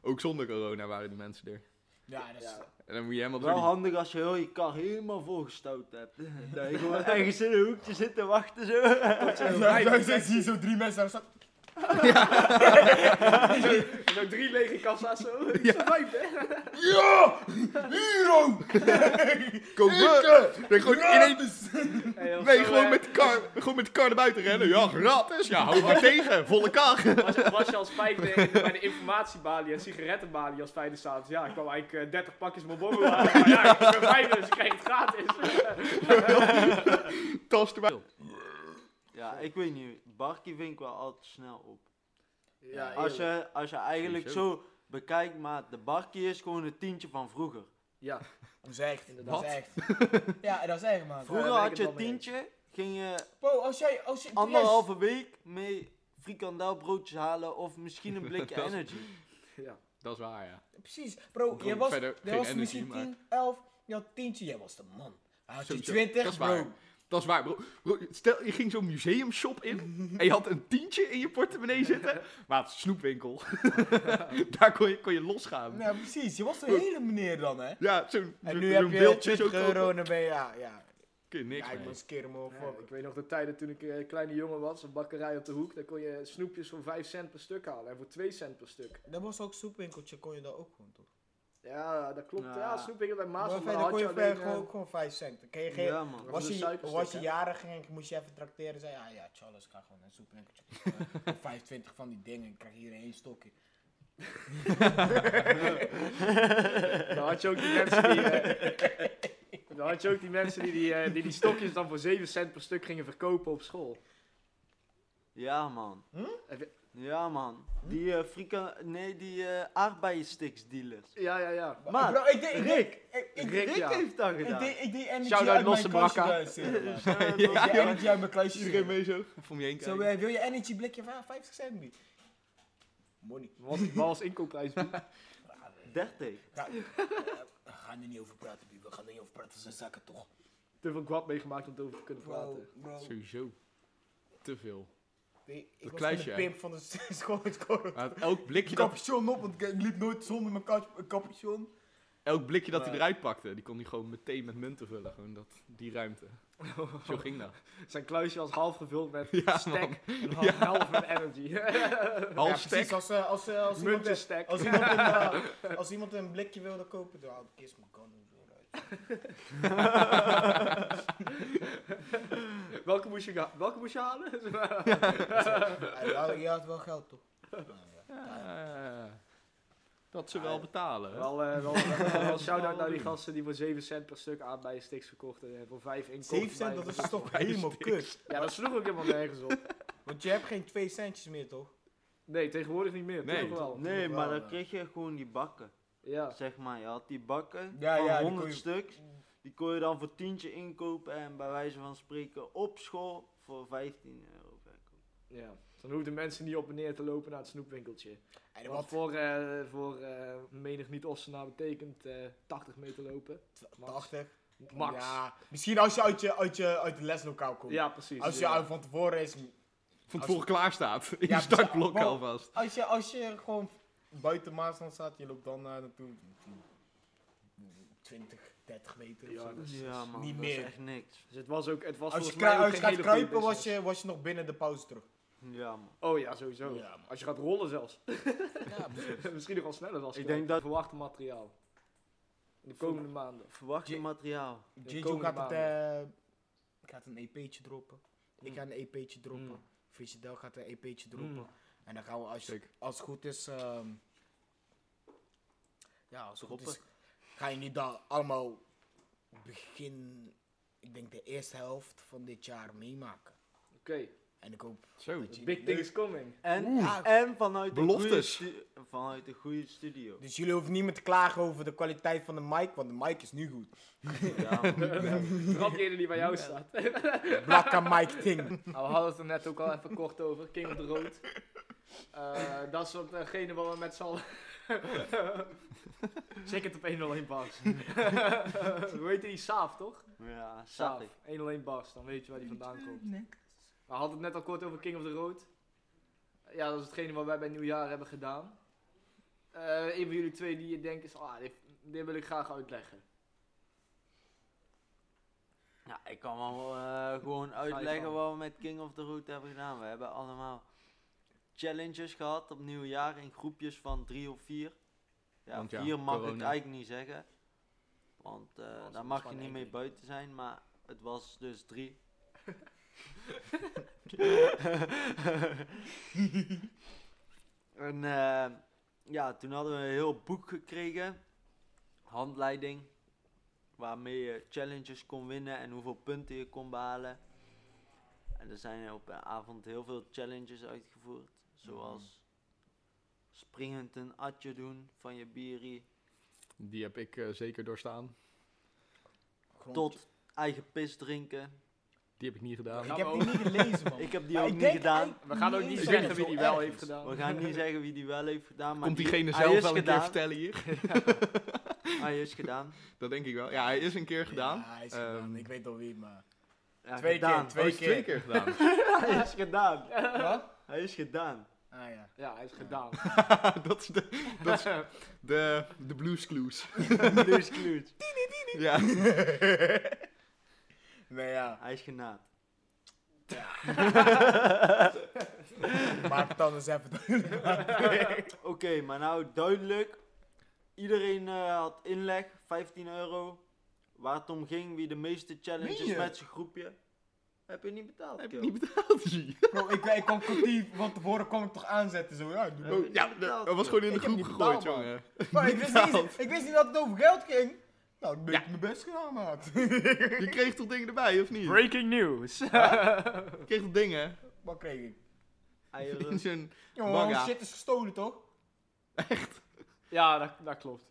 A: Ook zonder corona waren die mensen er.
C: Ja, dat is... [laughs]
B: Ja.
A: En dan moet je helemaal door
D: Wel
A: die...
D: handig als je heel je kar helemaal volgestouwd
C: [laughs]
D: hebt. Dat je gewoon ergens in een hoekje zit te wachten zo.
C: Ja,
B: Vijf,
C: dan
B: zes.
C: zie je zo drie mensen daar staan.
B: Zo drie lege kassa's zo. Ja. Vijfde, hè?
C: Ja! Hero!
A: Komen! Nee, oh. Eh, gewoon ineens...
B: Hey, of
A: Nee,
B: zo,
A: gewoon
B: eh,
A: met, de kar, gewoon met de kar naar buiten rennen. Ja, gratis. Ja, hou
C: [laughs]
A: maar tegen. Volle kar. [laughs]
B: Was, was je als vijfde in- bij de informatiebalie en sigarettenbalie als vijfde staat? Ja, ik kwam eigenlijk eh, 30 pakjes Marlboro aan. Maar ja, ik ben vijfde, dus ik kreeg het gratis.
A: Tas erbij.
D: [laughs] Ja, ik weet niet. Barkie vind ik wel al te snel op.
B: [laughs] Ja,
D: Als je, als je eigenlijk
A: Sowieso.
D: zo bekijkt, maar de barkie is gewoon een tientje van vroeger.
B: Ja,
C: Dat is echt,
B: Inderdaad.
C: dat is
A: [laughs]
C: echt. Ja, dat is echt, man.
D: Vroeger
B: daar ben ik het
D: had je
B: wel
D: een
B: mee eens.
D: tientje, ging je
C: Bro, als jij... Als je, toen jij-
D: anderhalve week mee frikandelbroodjes halen of misschien een blikje
A: Dat is-
D: energy.
B: ja.
A: Dat is waar, ja.
C: precies. Bro,
A: Bro,
C: jij was,
A: verder
C: jij
A: geen
C: was
A: energy,
C: misschien
A: maar-
C: 10, 11, je had tientje, jij was de man. Hij had je
A: Sowieso.
C: 20,
A: Dat
C: bro.
A: is waar. Dat is waar, bro. Bro, Stel, je ging zo'n museumshop in en je had een tientje in je portemonnee
C: [laughs]
A: zitten. Maar het is een snoepwinkel. [laughs] Daar kon je, kon je losgaan.
C: Nou, precies. Je was de
A: Bro.
C: hele meneer dan, hè.
A: Ja, zo'n
C: En
A: zo'n-
C: nu
A: zo'n
C: heb je
A: beeldje
C: 20
A: zo
C: euro
A: kopen.
C: en dan ben je, ja, ja.
A: Kun je niks
C: Ja, ik
A: mee.
C: moet skeren,
B: Ja,
C: motherfucker.
B: ik weet nog de tijden toen ik eh, een kleine jongen was, een bakkerij op de hoek, daar kon je snoepjes voor 5 cent per stuk halen en voor 2 cent per stuk.
C: Dat was ook soepwinkeltje, kon je daar ook gewoon, toch?
B: Ja, dat klopt. Ja,
D: Ja.
B: snoepwinkel bij
C: Maar
B: Maas, maar
C: verder
B: had
C: kon
B: je
C: je
B: alleen... eh,
C: gewoon, gewoon 5 cent. Dan Kreeg je geen-
D: Ja, man.
B: Of
C: Was
B: een
C: je,
B: suikerstuk,
C: was je
B: hè?
C: jarig en moest je even trakteren? Zei, ah ja, Charles, ik ga gewoon een soepwinkeltje [laughs] kopen. Voor 25 van die dingen, ik krijg hier één stokje.
B: Dan had je ook die mensen die... eh, dan had je ook die mensen die die, eh, die die stokjes dan voor 7 cent per stuk gingen verkopen op school.
D: Ja, man.
C: Hm?
B: Heb je-
D: Ja, man. Die eh frika... Nee, die eh aardbeiensticks dealers.
B: Ja, ja, ja.
D: Maar,
C: Bro, ik deed- ik deed-
D: Rick.
C: ik- ik-
B: Rick,
D: Rick
B: ja.
D: heeft dat
C: Ik
D: gedaan.
C: deed ik deed energy
B: Shout-out
C: uit
B: Losse
C: mijn klasje
B: Brakka.
C: eruit
B: [laughs]
C: zitten. man.
D: Ja,
C: Ik deed energy uit mijn klasje
A: Iedereen
C: zitten.
A: mee zo? Of om je heen
C: Zo,
A: kijken?
C: eh, wil je energy blikje van 50 cent nu? Money.
B: Wat was, wat was inkoopprijs?
C: Ah, eh,
D: 30.
C: nou, eh, We gaan er niet over praten, Bie. We gaan er niet over praten, dat zijn zakken toch.
B: Te veel kwad meegemaakt om het over te kunnen
C: Bro,
B: praten.
C: bro.
A: Sowieso. Te veel.
C: Ik ik
A: dat
C: was gewoon
A: kluisje,
C: de
A: hè?
C: pimp van de [laughs] school. ik scoorde.
A: Maar elk blikje dat,
C: Capuchon op, want ik eh, liep nooit zonder mijn kap- capuchon.
A: elk blikje dat hij
C: Nee.
A: eruit pakte, die kon hij gewoon meteen met munten vullen. Gewoon dat, die ruimte. Zo ging dat.
B: [laughs] Zijn kluisje was half gevuld met
A: Ja,
B: stack en half, half met
C: [laughs]
B: energy. [laughs]
A: Half
C: Ja,
A: stek.
C: precies, als, eh, als, eh, als, iemand,
B: Muntjes
C: eh,
B: stack.
C: als, iemand een, eh, als iemand een blikje wilde kopen, dan haalde ik eerst mijn kan
A: [laughs]
C: eruit.
B: [laughs] welke, moest je, ga- welke moest je halen? [laughs]
C: Dus, eh, Hij had- Je had wel geld toch? Nou, ja.
A: Ja. dat ze wel betalen. hè?
B: wel, eh, wel, wel, wel shout-out naar die gasten die voor 7 cent per stuk aan bij sticks verkochten. En voor 5 inkopen.
C: 7 cent, dat is toch
A: bij de
C: helemaal kut.
B: Ja, dat sloeg ook helemaal nergens op.
C: Want je hebt geen 2 centjes meer toch?
B: Nee, tegenwoordig niet meer.
A: Nee.
B: Nee, toch Oh, wel.
D: Nee,
C: wel,
D: maar
C: eh.
D: dan kreeg je gewoon die bakken.
B: Ja.
D: Zeg maar, je had die bakken
C: Ja,
D: van
C: ja, die kon
D: 100
C: je-
D: stuks. Die kon je dan voor tientje inkopen en bij wijze van spreken op school voor 15 euro verkopen.
B: ja. Dan hoefden mensen niet op en neer te lopen naar het snoepwinkeltje.
C: En
B: Wat
C: wat
B: voor, eh, voor eh, menig niet-ossenaar betekent eh 80 meter lopen. Max.
C: 80?
B: Max. Ja,
C: Ja, misschien als je uit, je, uit, je, uit de leslokaal komt.
B: precies.
C: Als je
B: ja.
C: uit van tevoren is.
A: Van
C: Als-
A: tevoren klaar [laughs] staat. In
C: Ja,
A: je startblok
C: maar-
A: alvast.
C: Als je, als je gewoon buiten Maasland staat, je loopt dan naar naartoe. 20, 30 meter of
B: Ja,
C: zo.
B: dat is-
D: Ja, man,
C: niet
D: dat
C: meer.
D: is echt niks.
B: Dus het was ook, het was
C: Als je,
B: volgens mij
C: krui-
B: ook
C: als je
B: geen
C: gaat
B: hele goede
C: kruipen, was
B: business.
C: je, was je nog binnen de pauze terug.
D: Ja, man.
B: Oh ja, sowieso.
C: Ja, man.
B: als je gaat rollen zelfs.
C: Ja,
B: [laughs] Misschien nog wel sneller als
D: Ik
B: je
D: denk
B: gaat
D: dat-
B: verwachten materiaal. In de komende maanden.
D: Verwacht je
C: Je-
D: materiaal.
C: Jeju
B: komende
C: gaat, het, eh gaat een EP'tje droppen. Ik
D: Mm.
C: ga een EP'tje droppen.
B: Mm.
C: Friesedel gaat een EP'tje droppen.
B: Mm.
C: En dan gaan we, als,
A: Zeker.
C: als het goed is... ehm, ja, als het goed is...
D: Droppen.
C: Ga je nu dan allemaal begin... Ik denk de eerste helft van dit jaar meemaken.
B: Oké,
C: En ik hoop...
A: Zo.
C: dat je-
B: big things
C: [laughs]
B: coming.
D: En,
C: Oeh.
D: en vanuit, een goede
A: Beloftes.
D: stu- vanuit een goede studio.
C: Dus jullie hoeven niet meer te klagen over de kwaliteit van de mic, want de mic is nu goed.
D: Ja,
B: [laughs]
D: man.
B: Traptreden die bij jou staat.
C: Blakka mic ting.
B: Nou, we hadden het er net ook al even kort over. King op de Rood. Eh, dat is wat, degene waar we met z'n allen... Check het op 101 bars. Hoe heet die? Saaf, toch?
D: ja
B: Saaf.
D: zat ik.
B: 101 bars, dan weet je waar die vandaan komt. We hadden het net al kort over King of the Road. Ja, dat is hetgene wat wij bij nieuwjaar hebben gedaan. Eh een van jullie twee die je denkt is, ah, dit, dit wil ik graag uitleggen.
D: Ja, ik kan wel eh, gewoon uitleggen wat we met King of the Road hebben gedaan. We hebben allemaal challenges gehad op nieuwjaar in groepjes van drie of vier. Ja,
A: Want ja,
D: vier mag ik
A: corona.
D: eigenlijk niet zeggen. Want eh,
B: was-
D: daar
B: was
D: mag je
B: gewoon
D: niet
B: één
D: mee
B: ding.
D: buiten zijn, maar het was dus
B: [laughs]
D: drie. en eh, ja, toen hadden we een heel boek gekregen. Handleiding. Waarmee je challenges kon winnen en hoeveel punten je kon behalen. En er zijn op een avond heel veel challenges uitgevoerd.
C: Mhm.
D: Zoals springend een atje doen van je bierie.
A: Die heb ik eh, zeker doorstaan.
D: Tot eigen pis drinken.
A: Die Die heb ik niet gedaan.
B: gaan
C: ik heb
B: we
C: die niet gelezen, man.
D: Ik heb die
C: Maar
D: ook
C: ik
D: niet
C: denk
D: gedaan.
C: eigenlijk
B: We gaan ook niet
C: eens dat
B: zeggen
C: het
B: wie
C: zo
B: die wel
C: erg
B: heeft
C: is.
B: gedaan.
D: We gaan niet zeggen wie die wel heeft gedaan. Maar
A: Komt
D: die-
A: diegene
D: hij
A: zelf
D: is
A: wel een
D: gedaan.
A: keer vertellen hier? [laughs]
D: Hij is gedaan.
A: Dat denk ik wel. Ja, hij is een keer gedaan.
C: Ja, hij is
A: Ehm,
C: gedaan. Ik weet al wie, maar...
D: Ja,
C: Twee keer, [laughs]
D: gedaan.
A: oh,
C: twee
A: hij is
C: keer.
A: twee keer gedaan. [laughs]
D: Hij is gedaan.
C: Wat?
D: Hij is
C: [laughs]
D: gedaan.
C: Ah ja.
B: [laughs] Ja, hij is gedaan.
A: dat is de, dat is de, de Blues Clues.
D: Blues Clues.
A: ja.
C: Nee, ja.
D: Hij is genaamd. [laughs]
C: Maak het anders even
D: [laughs] Oké, maar nou duidelijk. Iedereen eh, had inleg, 15 euro. Waar het om ging, wie de meeste
C: Meen
D: challenges
C: je?
D: met zijn groepje. Heb je niet betaald,
A: Heb je [laughs]
D: Kjell.
A: niet betaald, G?
C: Bro, ik, ik kwam kwartier van tevoren kon ik toch aanzetten zo. Ja, ik
A: [laughs]
C: doe
D: Ja.
C: dat.
A: Oh, ja, dat was gewoon in de
C: Ik heb
A: groep
C: niet
A: gegooid,
C: betaald, man.
A: jongen.
C: Maar ik wist, niet,
A: Betaald.
C: eens- ik wist niet dat het over geld ging. Nou, dan ben ik mijn best
A: [laughs]
C: gedaan, maat.
A: Je kreeg toch dingen erbij, of niet?
B: Breaking news.
A: Je kreeg toch dingen
C: Wat kreeg ik?
D: Eieren. [laughs]
A: in zijn...
C: Jongen,
A: Manga.
C: shit is gestolen, toch?
B: ja, dat, dat
A: [laughs]
B: klopt.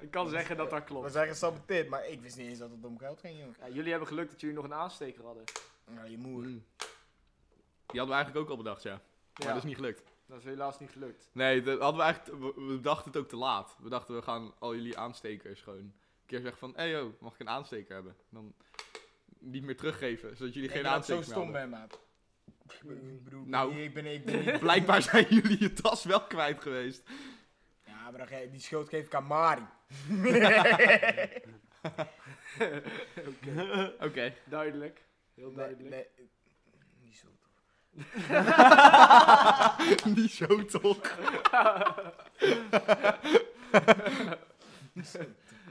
B: ik kan zeggen dat dat
C: We
B: klopt.
C: zijn gesaboteerd, maar ik wist niet eens dat het om geld ging, jongen.
B: Ja, jullie hebben geluk dat jullie nog een aansteker hadden.
C: Nou, je moer.
A: Mm. Die hadden we eigenlijk ook al bedacht, ja. Maar
B: Ja,
A: dat is niet gelukt.
B: dat is helaas niet gelukt.
A: Nee, dat hadden we eigenlijk... We, we dachten het ook te laat. We dachten, we gaan al jullie aanstekers gewoon... Een keer zeggen van... Hé, hey, yo, mag ik een aansteker hebben? Dan niet meer teruggeven, zodat jullie
C: Ik
A: geen
C: denk dat ik zo
A: aansteker meer
C: stom
A: hadden.
C: ben, maat. Ik bedoel,
A: Nou.
C: ik ben, ik ben [laughs]
A: [laughs]
C: niet...
A: Blijkbaar zijn jullie je tas wel kwijt geweest.
C: Ja, maar dan ge- die schuld geef ik aan
A: [laughs]
C: Mari.
A: Oké.
C: [laughs]
A: [laughs]
B: Duidelijk. Heel
C: Nee,
B: duidelijk.
C: nee, eh, niet zo toch.
A: niet zo toch?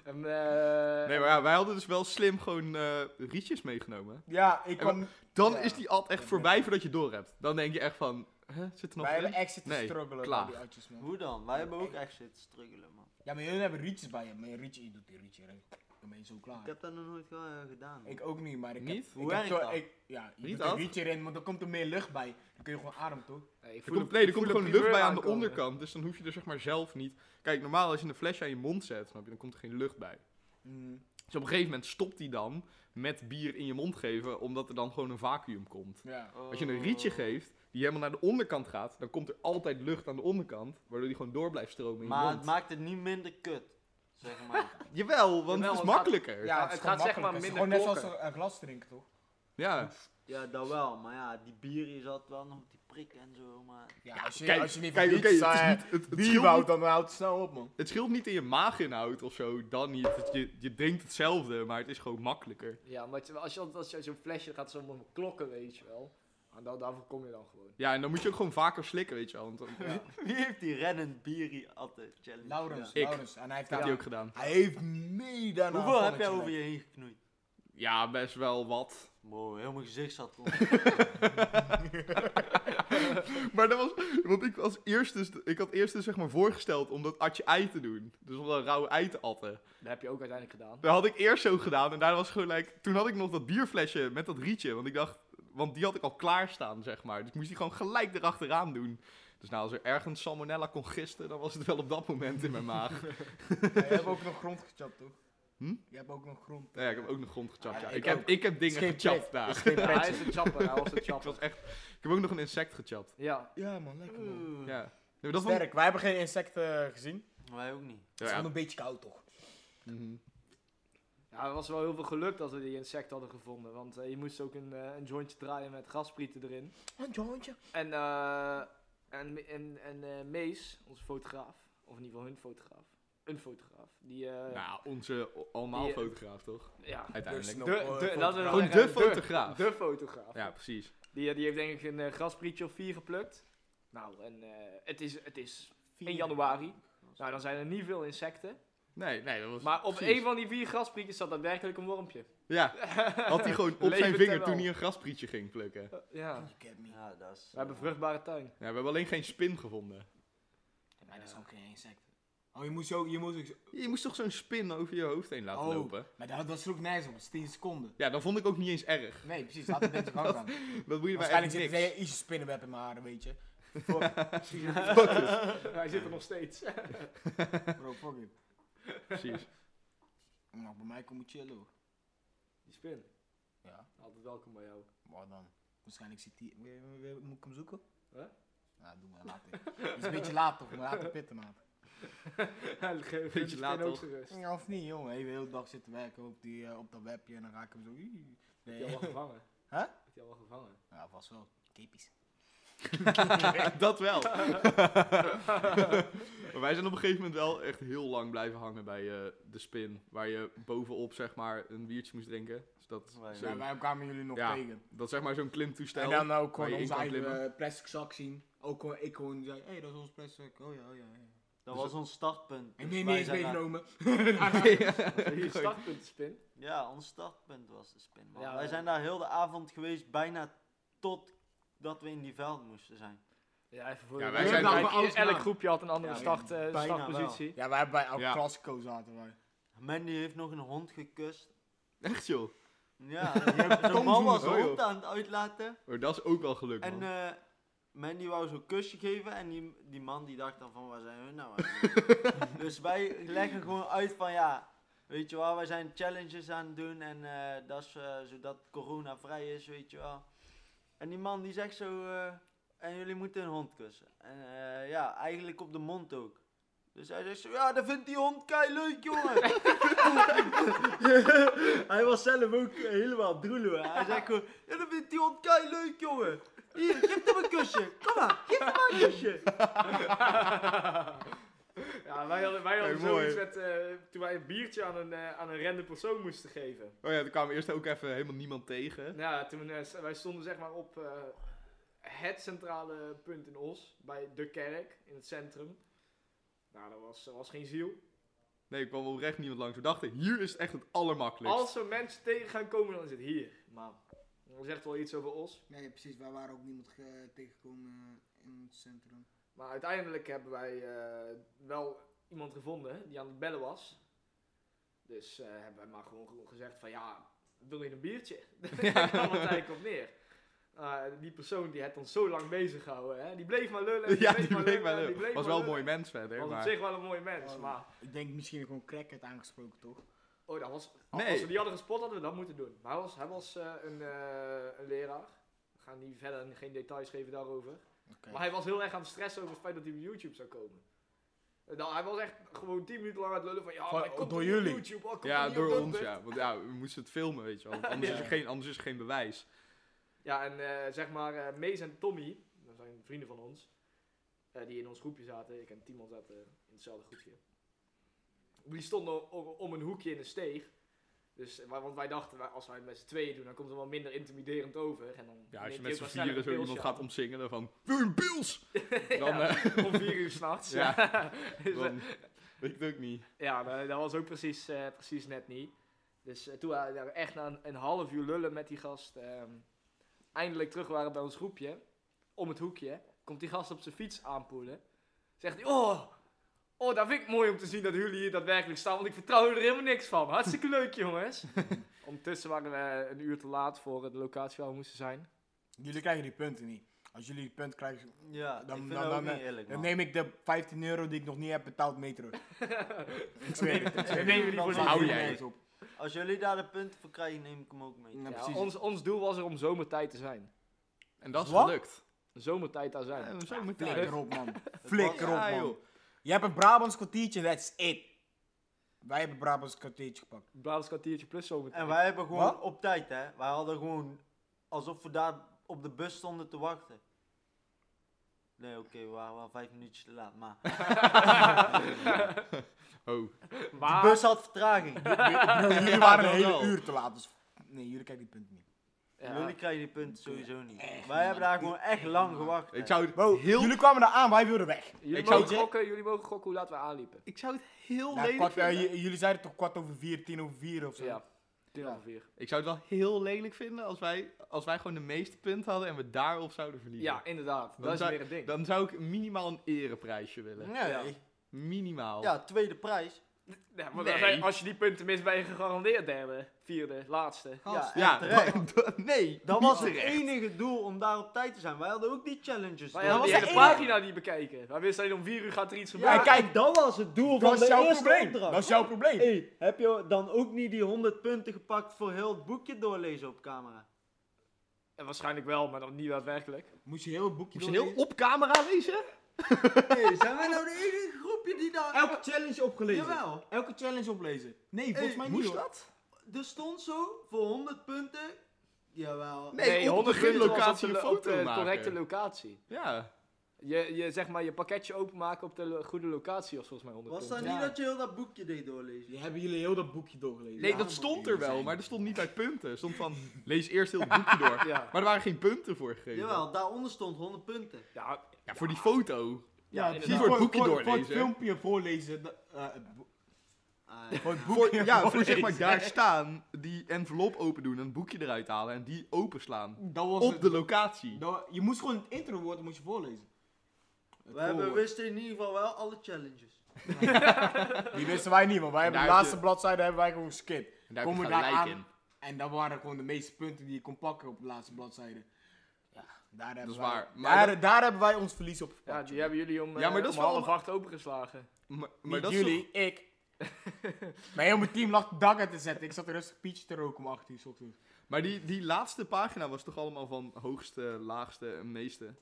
B: En, eh,
A: Nee, maar ja, wij hadden dus wel slim gewoon eh, rietjes meegenomen.
C: Ja, ik kwam...
A: Dan
C: Ja.
A: is die ad echt voorbij voordat je door hebt. Dan denk je echt van, hè, zit er nog
C: Wij
A: in?
C: hebben exit te
A: Nee,
C: struggelen
A: klaar.
C: bij die oudjes, man.
D: Hoe dan? Wij hebben ook echt zitten struggelen, man.
C: Ja, maar jullie hebben rietjes bij je. Maar een rietje, je doet die rietje. hè. Dan ben je zo klaar.
D: Ik heb dat nog nooit ge- eh, gedaan.
C: Ik ook niet, maar ik
A: Niet?
C: heb...
D: Hoe
C: ik
D: werkt
C: heb zo-
D: dat?
C: Ik, ja, je
A: Niet
C: doet een
A: dat?
C: rietje erin, maar dan komt er meer lucht bij. Dan kun je gewoon adem, toch?
B: nee, ik
A: Er
B: voel
A: komt,
B: de-
A: nee, er
B: ik voel
A: komt
B: de
A: gewoon lucht
B: primeur
A: bij aan de
B: aankomen.
A: onderkant. Dus dan hoef je er zeg maar zelf niet... Kijk, normaal als je een flesje aan je mond zet, snap je, dan komt er geen lucht bij. Dus op een gegeven moment stopt die dan met bier in je mond geven, omdat er dan gewoon een vacuüm komt.
C: Ja.
D: Oh.
A: Als je een rietje
C: Oh.
A: geeft, die helemaal naar de onderkant gaat, dan komt er altijd lucht aan de onderkant, waardoor die gewoon door blijft stromen in je
D: Maar het
A: mond.
D: maakt het niet minder kut. Zeg maar.
A: Jawel, want
B: Jawel,
A: het is
B: het gaat-
A: makkelijker.
C: Ja,
B: gaat- het
C: het, is gewoon
B: gaat zeg
C: makkelijker.
B: maar
C: Het is
B: minder
C: gewoon net zoals
B: koken.
C: een, een glas drinken, toch?
A: ja.
D: [laughs] Ja, dat wel. Maar ja, die bier is altijd wel nog die prik en zo. Maar
C: Ja, als je,
A: Kijk,
C: als je niet
A: kijk,
C: van
A: oké,
C: rietjes
A: het, is
C: zei,
A: niet- het, het
C: bier
A: scheelt
C: wou,
A: niet,
C: dan houdt het snel op, man.
A: het scheelt niet in je maaginhoud of zo, dan niet. Het- je, je drinkt hetzelfde, maar het is gewoon makkelijker.
B: Ja, maar het- als je, als je zo'n flesje gaat zo klokken, weet je wel. En dan, daarvoor kom je dan gewoon.
A: Ja, en dan moet je ook gewoon vaker slikken, weet je wel. Want dat
C: Ja.
D: [laughs] wie heeft die rennend bier hier altijd challenge?
C: Laurens,
A: Ik.
C: Laurens. En hij heeft
A: heb
C: daar-
A: je ook gedaan.
C: Hij heeft mee daarna...
D: Hoeveel
C: een
D: heb jij
C: valletje
D: over je heen geknoeid?
A: Ja, best wel wat. [laughs]
D: Wow, heel mijn gezicht zat
C: [laughs]
D: op.
A: Maar dat was, want ik, was eerst dus, ik had eerst dus zeg maar voorgesteld om dat atje ei te doen. Dus om dat rauwe ei te atten.
B: Dat heb je ook uiteindelijk gedaan.
A: Dat had ik eerst zo gedaan en daar was gewoon like, toen had ik nog dat bierflesje met dat rietje, want ik dacht, want die had ik al klaarstaan, zeg maar. Dus ik moest die gewoon gelijk erachteraan doen. Dus nou, als er ergens salmonella kon gisten, dan was het wel op dat moment in mijn maag.
C: Ja, je hebt ook nog grond gechapt, toch?
A: Hm?
C: Je hebt ook nog grond.
A: Nou ja, ik heb ook nog grond gechapt, ja.
C: Ja,
A: Ik,
C: ik
A: heb,
C: ook.
A: ik heb
C: Is
A: dingen
C: geen
A: gechapt
C: pret,
A: daar.
C: is geen
B: [laughs] Ja,
C: pret.
B: hij is een chapper, hij was [laughs]
A: [laughs]
B: een
A: Ik was
B: chapper.
A: echt... Ik heb ook nog een insect gechapt.
B: Ja,
C: Ja, man, lekker, man.
A: Ja. Nee, maar dat vond ik...
C: Sterk, wij hebben geen insecten gezien.
D: Wij ook niet.
C: Het
A: Ja,
C: is gewoon
A: ja.
C: een beetje koud, toch?
A: Mhm.
B: ja, er was wel heel veel geluk dat we die insecten hadden gevonden. Want eh, je moest ook een, eh, een jointje draaien met gasprieten erin.
C: Een jointje.
B: En, eh, en, en, en eh, Mees, onze fotograaf, of in ieder geval hun fotograaf, een fotograaf, die... eh,
A: Nou, onze o- allemaal
B: Die, eh,
A: fotograaf, toch?
B: ja,
A: Uiteindelijk.
C: Dus
B: De-
C: nog,
B: de-
C: eh,
B: laten we
C: fotograaf.
B: nog
A: Gewoon
B: zeggen,
A: de fotograaf.
B: De fotograaf.
A: Ja, precies.
B: Die, eh, die heeft denk ik een eh, grasprietje of vier geplukt. Nou, en eh, het, is, het is 1 januari. Nou, dan zijn er niet veel insecten.
A: Nee, nee, dat was...
B: Maar op
A: precies.
B: één van die vier grasprietjes zat daadwerkelijk een wormpje.
A: Ja, had hij gewoon op
B: Levend
A: zijn
B: en
A: vinger
B: al.
A: toen hij een grasprietje ging plukken.
B: Ja,
C: Oh, You get me.
D: Ja, dat is... eh,
B: we hebben vruchtbare
A: [laughs]
B: tuin.
A: Ja, we hebben alleen geen spin gevonden.
C: Ja, maar dat is ook geen insect. Oh, je moest ook... Je moest ook zo-
A: Je moest toch zo'n spin over je hoofd heen laten
C: Oh.
A: lopen?
C: maar dat, dat sloeg nergens op, dat is 10 seconden.
A: Ja, dat vond ik ook niet eens erg.
C: Nee, precies, laat het [laughs] mensen gang gaan.
A: Dat boeide mij
C: Waarschijnlijk
A: echt
C: zit
A: niks.
C: er ietsje spinnenweb in mijn haren, weet je.
B: Hij zit er nog steeds.
C: Bro, fuck it.
A: Precies.
C: Nou, bij mij komt het chillen hoor.
B: Die spin.
C: Ja,
B: Altijd welkom bij jou.
C: maar dan. Waarschijnlijk zit hij. Moet ik hem zoeken? Nou,
B: Huh?
C: Ja, doen we later. Het is een beetje laat toch, maar laten pitten, maat.
B: Geef
A: Beetje laat,
B: ook
A: toch?
B: zijn rust.
C: Ja, of niet, jongen. Even de hele dag zitten werken op, die, eh, op dat webje en dan raak ik hem zo. ii.
B: Heb je
C: Nee.
B: al wel gevangen?
C: Huh?
B: Heb je al wel
A: [laughs]
B: gevangen?
C: Ja, vast wel. Kepies.
A: [laughs] dat wel. maar wij zijn op een gegeven moment wel echt heel lang blijven hangen bij eh, de spin. Waar je bovenop zeg maar een biertje moest drinken. Dus dat,
D: Wij-
A: zo,
B: nou,
C: Ja, wij kwamen jullie nog
A: Ja.
C: tegen.
A: dat zeg maar zo'n klimtoestel.
C: En dan
B: eh,
C: ook
A: waar je
C: gewoon
A: in
C: onze
A: kan
C: eigen
A: klimmen.
C: eh, plastic zak zien. Ook gewoon, ik gewoon zei, hé, hey, dat is ons plastic zak. Oh ja, oh ja, ja.
D: Dat
A: Dus
D: was ons startpunt.
C: En
D: dus
C: nee,
D: wij
C: nee, is
D: zijn daar-
C: meegenomen.
B: Je startpunt spin.
D: Ja, ons startpunt was de spin. man.
B: Ja,
D: wij
B: wij-
D: zijn daar heel de avond geweest, bijna totdat we even in die veld mosten zijn.
B: Ja, even voor
A: Ja,
B: de-
A: wij
B: Je
A: zijn
B: hebt
A: bij
B: elk-
C: alles
B: elk
C: gedaan.
B: groepje had een andere
D: Ja,
B: start, eh,
D: bijna
B: startpositie.
C: [laughs] ja, wij hebben bij El
A: Ja.
C: Clasico zaten wij.
D: Mandy heeft nog een hond gekust.
A: Echt joh.
D: Ja, zo'n man was
A: Oh,
D: een
A: joh.
D: hond aan het uitlaten.
A: Maar dat is ook wel gelukt
D: En
A: man.
D: eh Mandy wou zo'n kusje geven en die, die man die dacht dan van waar zijn we nou eigenlijk? [laughs] Dus wij leggen gewoon uit van ja, weet je wel, wij zijn challenges aan het doen en eh, dat is eh, zodat corona vrij is, weet je wel. En die man die zegt zo, eh, en jullie moeten een hond kussen. En eh, ja, eigenlijk op de mond ook. Dus hij zegt zo, ja, dat vindt die hond kei leuk, jongen. [laughs] hij was zelf ook helemaal droeloe. hè. Hij zegt gewoon, ja, dat vindt die hond kei leuk, jongen. Hier, geef hem een kusje. Kom maar, geef hem maar een kusje.
B: [laughs] Ja, wij hadden, wij hadden
A: Hey, mooi.
B: zoiets met, eh, toen wij een biertje aan een, eh, aan een rende persoon moesten geven.
A: Oh ja, er kwam eerst ook even helemaal niemand tegen.
B: Nou, ja, toen, eh, s- wij stonden zeg maar op eh, het centrale punt in Os, bij de kerk, in het centrum. Nou, dat was, dat was geen ziel.
A: Nee, er kwam oprecht niemand langs. We dachten, hier is het echt het allermakkelijkst.
B: Als we mensen tegen gaan komen, dan is het hier. Maar dat zegt wel iets over Os.
C: Nee, precies. Wij waren ook niemand ge- tegengekomen eh, in het centrum.
B: Maar uiteindelijk hebben wij eh, wel iemand gevonden die aan het bellen was. Dus eh, hebben wij maar gewoon gewoon gezegd van ja, wil je een biertje? [laughs] Daar kwam het eigenlijk op neer. Eh, die persoon die had ons zo lang bezig gehouden, hè? die bleef maar lullen. en Die
A: [laughs] ja,
B: bleef maar lullen, en die
A: Was
B: bleef maar
A: wel een
B: lullen.
A: mooi mens verder.
B: Was op
A: maar...
B: zich wel een mooi mens,
C: Oh.
B: maar...
C: Ik denk misschien gewoon crackhead aangesproken, toch?
B: Oh, dat was,
A: Nee.
B: als we die hadden gespot, hadden we dat moeten doen. Maar hij was, hij was eh, een, eh, een leraar. We gaan niet verder geen details geven daarover.
C: Oké.
B: Maar hij was heel erg aan het stressen over het feit dat hij op YouTube zou komen. En dan, hij was echt gewoon 10 minuten lang aan het lullen van ja,
C: Van-
B: maar ik kom
C: door
B: op
C: jullie?
B: YouTube. oh, ik kom
A: Ja,
B: er niet
A: door
B: op
A: ons,
B: Dumpert.
A: ja. Want ja, we moesten het filmen, weet je wel. Want Anders,
B: [laughs] Ja.
A: is, er geen, anders is er geen bewijs.
B: Ja, en eh, zeg maar, eh Mees en Tommy, dat zijn vrienden van ons, eh, die in ons groepje zaten. Ik en Timon zaten in hetzelfde groepje. Die stonden o- om een hoekje in een steeg. Dus, eh, wa- want wij dachten, wij- als wij het met z'n tweeën doen, dan komt het wel minder intimiderend over. En dan
A: Ja, als je met
B: neemt
A: z'n
B: hij ook wel sneller
A: vieren zo
B: een
A: iemand
B: pilsje
A: gaat
B: [laughs]
A: omzingelen van... Wil je een pils?
B: aan.
A: Dan,
B: Ja,
A: eh,
B: om vier uur s'nachts.
A: Ja.
B: ja. [laughs]
A: [laughs]
B: Dus, eh,
A: dan weet ik het ook niet.
B: Ja, maar dat was ook precies, eh, precies net niet. Dus eh, toen we daar echt na een, een half uur lullen met die gast ehm, eindelijk terug waren bij ons groepje, om het hoekje, komt die gast op zijn fiets aanpoelen. Zegt hij, oh, oh, dat vind ik mooi om te zien dat jullie hier daadwerkelijk staan, want ik vertrouw er helemaal niks van. Hartstikke leuk, [laughs] jongens. Ondertussen waren we een uur te laat voor de locatie waar we moesten [laughs] zijn.
C: Jullie krijgen die punten niet. Als jullie die punt krijgen,
D: Ja,
C: Dan-
D: ik vind
C: dan-
D: dat ook
C: dan-
D: niet eerlijk,
C: dan
D: man.
C: neem ik de 15 euro die ik nog niet heb betaald mee terug. ik zweer het. ik zweer
B: We nemen die voor
C: het. Dan
A: lief.
C: hou
A: Hou jij.
C: nergens op.
D: Als jullie daar de punten voor krijgen, neem ik hem ook mee.
C: Ja,
B: Ja,
C: precies.
B: ons, ons doel was er om zomertijd te zijn.
A: En dat is
C: Wat?
A: gelukt.
B: Zomertijd daar zijn.
A: Ja, zo meteen.
C: Flikker op, [laughs] man. Flikker op,
A: Ja,
C: man.
A: joh.
C: Je Ah, hebt een Brabants kwartiertje, that's it. Wij hebben een Brabants kwartiertje
A: [laughs]
C: gepakt.
B: Brabants kwartiertje plus zomertijd.
D: En wij hebben gewoon
C: Wat?
D: op tijd, hè. Wij hadden gewoon alsof we daar op de bus stonden te wachten. Nee, oké, we waren wel vijf minuutjes te laat, maar...
A: Oh,
D: De
B: Maar-
D: bus had vertraging.
C: jullie waren een
A: dat
C: hele
A: wel.
C: uur te laat, dus... Nee, jullie krijgen die punten niet.
B: Ja.
D: Jullie krijgen die punten sowieso niet.
C: Echt,
D: wij hebben
C: man.
D: daar gewoon echt lang gewacht. hè.
A: ik zou het
C: Bro,
A: heel...
C: jullie kwamen daar aan, wij wilden weg.
B: Jullie,
A: Ik zou
B: mogen
A: het-
B: gokken, jullie mogen gokken hoe laat wij aanliepen.
A: Ik zou het heel
C: Ja,
A: lelijk
C: kwart, eh,
A: vinden.
C: j- jullie zeiden toch kwart over vier, tien over vier of zo?
B: Ja, tien
C: Ja.
B: over vier.
A: Ik zou het wel heel lelijk vinden als wij, als wij gewoon de meeste punten hadden en we daarop zouden verliezen.
B: Ja, inderdaad.
A: Dan
B: dat is
A: zou-
B: weer een ding.
A: Dan zou ik minimaal een ereprijsje willen.
C: Nee.
B: Ja.
A: Minimaal.
D: Ja, tweede prijs.
B: Ja, want dan zijn- als je die punten mist, ben je gegarandeerd derde, vierde, laatste.
D: Gast.
A: Ja,
D: terecht.
A: dat- nee. [laughs]
D: Dat
A: niet
D: was het
A: terecht.
D: enige doel om daar op tijd te zijn. Wij hadden ook die challenges.
B: Maar
D: door.
B: ja, dat was
D: Ja,
B: de
E: de
B: hele
E: enige-
B: pagina niet bekeken. Wij wisten alleen om vier uur gaat er iets
D: ja,
B: gebeuren.
D: en kijk, dat was het doel van
E: Dat
D: de
E: is jouw
D: eerste
E: probleem.
D: opdracht.
E: Dat is jouw probleem.
D: Hey, heb je dan ook niet die 100 punten gepakt voor heel het boekje doorlezen op camera?
B: En waarschijnlijk wel, maar dan niet daadwerkelijk.
C: Moest je heel het boekje
A: Moet je heel
C: doorlezen?
A: op camera lezen?
D: Hey, zijn wij nou de enige groepje die daar...
C: Elke challenge opgelezen.
D: Jawel.
C: Elke challenge oplezen. Nee, volgens mij niet
A: Moest
C: hoor.
A: dat?
D: Er stond zo, voor 100 punten... Jawel.
A: Nee, op de
B: punten was op
A: gunlocatie
B: de-
A: een
B: op
A: foto
B: de
A: maken.
B: correcte locatie.
A: Ja.
B: Je, je, zeg maar, je pakketje openmaken op de lo- goede locatie was volgens mij 100
D: Was dat
B: punten.
D: niet
C: Ja.
D: dat je heel dat boekje deed doorlezen?
C: Die hebben jullie heel dat boekje doorgelezen.
A: Nee,
C: Ja,
A: dat
C: man.
A: stond er
C: Jullie
A: wel,
C: zijn-
A: maar er stond niet uit punten. Er stond van, [laughs] lees eerst heel het [laughs] boekje door.
B: Ja.
A: Maar er waren geen punten voor gegeven.
D: Jawel, daaronder stond 100 punten.
B: Ja,
A: Ja, voor die foto.
B: Ja,
C: precies.
B: inderdaad.
A: Voor het boekje
C: Voor het
A: doorlezen.
C: filmpje voorlezen. dat- eh, het bo-
D: Ah,
C: voor het
A: Voor,
C: boekje
A: ja, voor zeg
C: voorlezen.
A: maar daar staan, die envelop open doen, een boekje eruit halen en die openslaan.
C: Dat was
A: Op
C: het.
A: de locatie.
C: Dat- je moest gewoon het introwoord moest je voorlezen.
D: we hebben, wisten in ieder geval wel alle challenges.
E: Die wisten wij niet, want wij hebben de
A: Daar heb je-
E: laatste bladzijde hebben wij gewoon geskipt.
A: En daar heb je
C: Komen daar
A: gelijk
C: aan.
A: in.
C: En dat waren gewoon de meeste punten die je kon pakken op de laatste bladzijde. Ja, daar hebben
A: is
C: wij-
A: waar, maar
C: Daar, daar hebben wij ons verlies op
B: ja,
C: verpakt.
B: die hebben jullie om, eh,
A: Ja, maar dat is
B: om
A: wel
B: half
A: een-
B: acht opengeslagen.
A: Maar, maar
E: Niet
A: dat is toch-
E: jullie, ik.
A: [laughs]
C: Mijn hele team lag de dak uit te zetten. Ik zat rustig pietje te roken om 8 uur 's ochtends.
A: Maar die, die laatste pagina was toch allemaal van hoogste, laagste en meeste.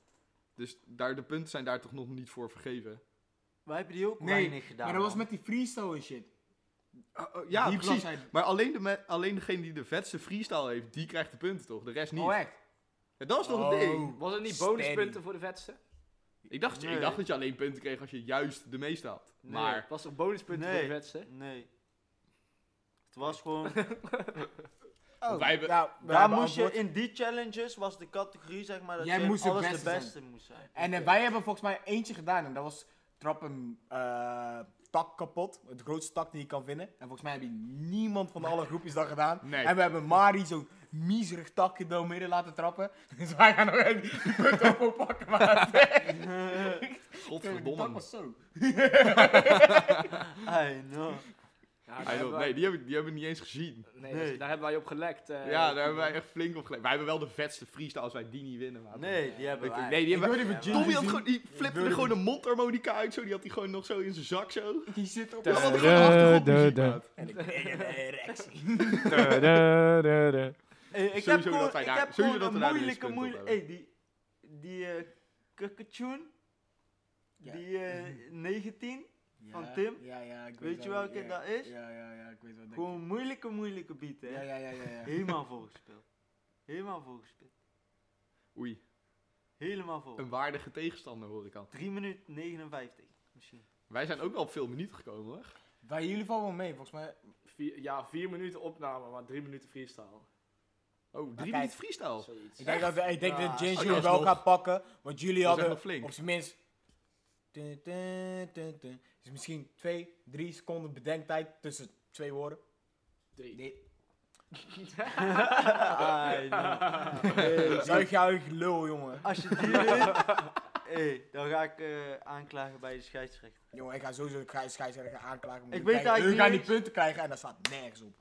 A: Dus daar, de punten zijn daar toch nog niet voor vergeven.
D: Wij hebben die ook
C: Nee,
D: weinig gedaan.
C: maar dat was
D: man.
C: met die freestyle en shit. Oh,
A: ja,
C: die
A: precies.
C: bladzijde.
A: Maar alleen, de me- alleen degene die de vetste freestyle heeft, die krijgt de punten toch? De rest niet.
C: Oh, echt?
A: Ja, dat is toch
C: Oh.
A: het ding?
B: Was het niet
E: Steady.
B: bonuspunten voor de vetste?
A: Ik dacht,
D: Nee.
A: ik dacht dat je alleen punten kreeg als je juist de meeste had.
B: Nee,
A: Maar
B: Was toch bonuspunten
D: Nee.
B: voor de vetste?
D: Nee. Het was gewoon...
C: Oh.
A: Want wij hebben-
E: nou, wij
D: Daar
E: hebben
D: moest je,
E: antwoord.
D: in die challenges was de categorie, zeg maar, dat
C: Jij
D: je
C: moest de
D: alles
C: beste
D: de
C: zijn.
D: beste moest zijn.
C: En eh, wij hebben volgens mij eentje gedaan en dat was trap een eh, tak kapot. Het grootste tak die je kan vinden. En volgens mij hebben niemand van alle groepjes dat gedaan.
A: Nee.
C: En we hebben Mari zo'n miezerig takje door midden laten trappen. [laughs] Dus wij gaan nog even die punten op pakken. Maar [laughs] die tak
A: godverdomme.
C: was zo.
D: I know.
B: Ja,
A: Ah,
B: daar
A: joh,
B: hebben
A: nee,
B: wij-
A: die hebben, die hebben we niet eens gezien.
B: nee,
D: Nee.
B: daar hebben wij op gelekt. eh,
A: ja, daar hebben wij echt flink op gelijk. Wij hebben wel de vetste freestyle als wij die niet winnen. maat.
D: Nee, die hebben
A: Ik-
D: wij.
A: nee, die hebben
C: wilde even
A: Tommy
C: Ginger
A: had
C: zien.
A: gewoon, die
C: Ik
A: flipte
C: wil
A: er
C: die-
A: gewoon een mondharmonica uit, zo. Die had hij gewoon nog zo in zijn zak, zo.
C: Die zit op
B: Ja,
A: Dat
C: de
A: had
B: want-
A: hij gewoon achtergrondmuziek,
B: de-
A: maat.
C: [laughs] En ik kreeg een erectie.
D: Hey, Eh, ik heb
A: Sowieso
D: gewoon,
A: dat wij
D: ik
A: daar-
D: heb
A: sowieso
D: gewoon
A: dat
D: een
A: we daar de
D: moeilijke,
A: winstpunt op
D: moeilijke... Hey, die... Die... eh Kukatjoen.
C: Ja.
D: Die eh 19.
C: Ja,
D: Van Tim?
C: Ja, ja, ik weet,
D: Weet je
C: wel-
D: welke
C: ja,
D: dat is?
C: Ja, ja, ja, ik weet wat dat
D: Gewoon
C: is.
D: een moeilijke, moeilijke beat, hè.
C: Ja, ja, ja, ja. ja. [laughs]
D: Helemaal volgespeeld. Helemaal volgespeeld.
A: Oei,
D: Helemaal vol.
A: een waardige tegenstander hoor ik al.
D: 3 minuten 59,
C: [laughs]
D: misschien.
A: Wij zijn ook wel op veel minuten gekomen hoor.
C: Bij jullie vallen wel mee, volgens mij.
B: Vier, ja, vier minuten opname, maar drie minuten freestyle.
A: Oh,
C: Maar
A: drie
C: kijk,
A: minuten freestyle.
B: Zoiets.
C: Ik denk dat, ik denk
D: Ja.
C: dat
A: Oh,
C: James
A: dat
C: jullie
A: is
C: wel
A: nog-
C: gaat pakken, want jullie
A: dat is echt
C: hadden
A: nog flink.
C: op zijn minst... Dun, dun, dun, dun. Dus misschien twee, drie seconden bedenktijd tussen twee woorden.
B: Drie.
A: [laughs]
C: Nee.
D: I know. Hey,
C: Zuig je eigen lul, jongen.
D: Als je die wint, hey, dan ga ik eh, aanklagen bij de scheidsrechter.
C: Jongen, ik ga sowieso de schei- scheidsrechter aanklagen. maar
D: Ik
C: we
D: weet
C: krijgen-
D: eigenlijk
C: we gaan
D: niet
C: die punten krijgen en dat staat nergens op.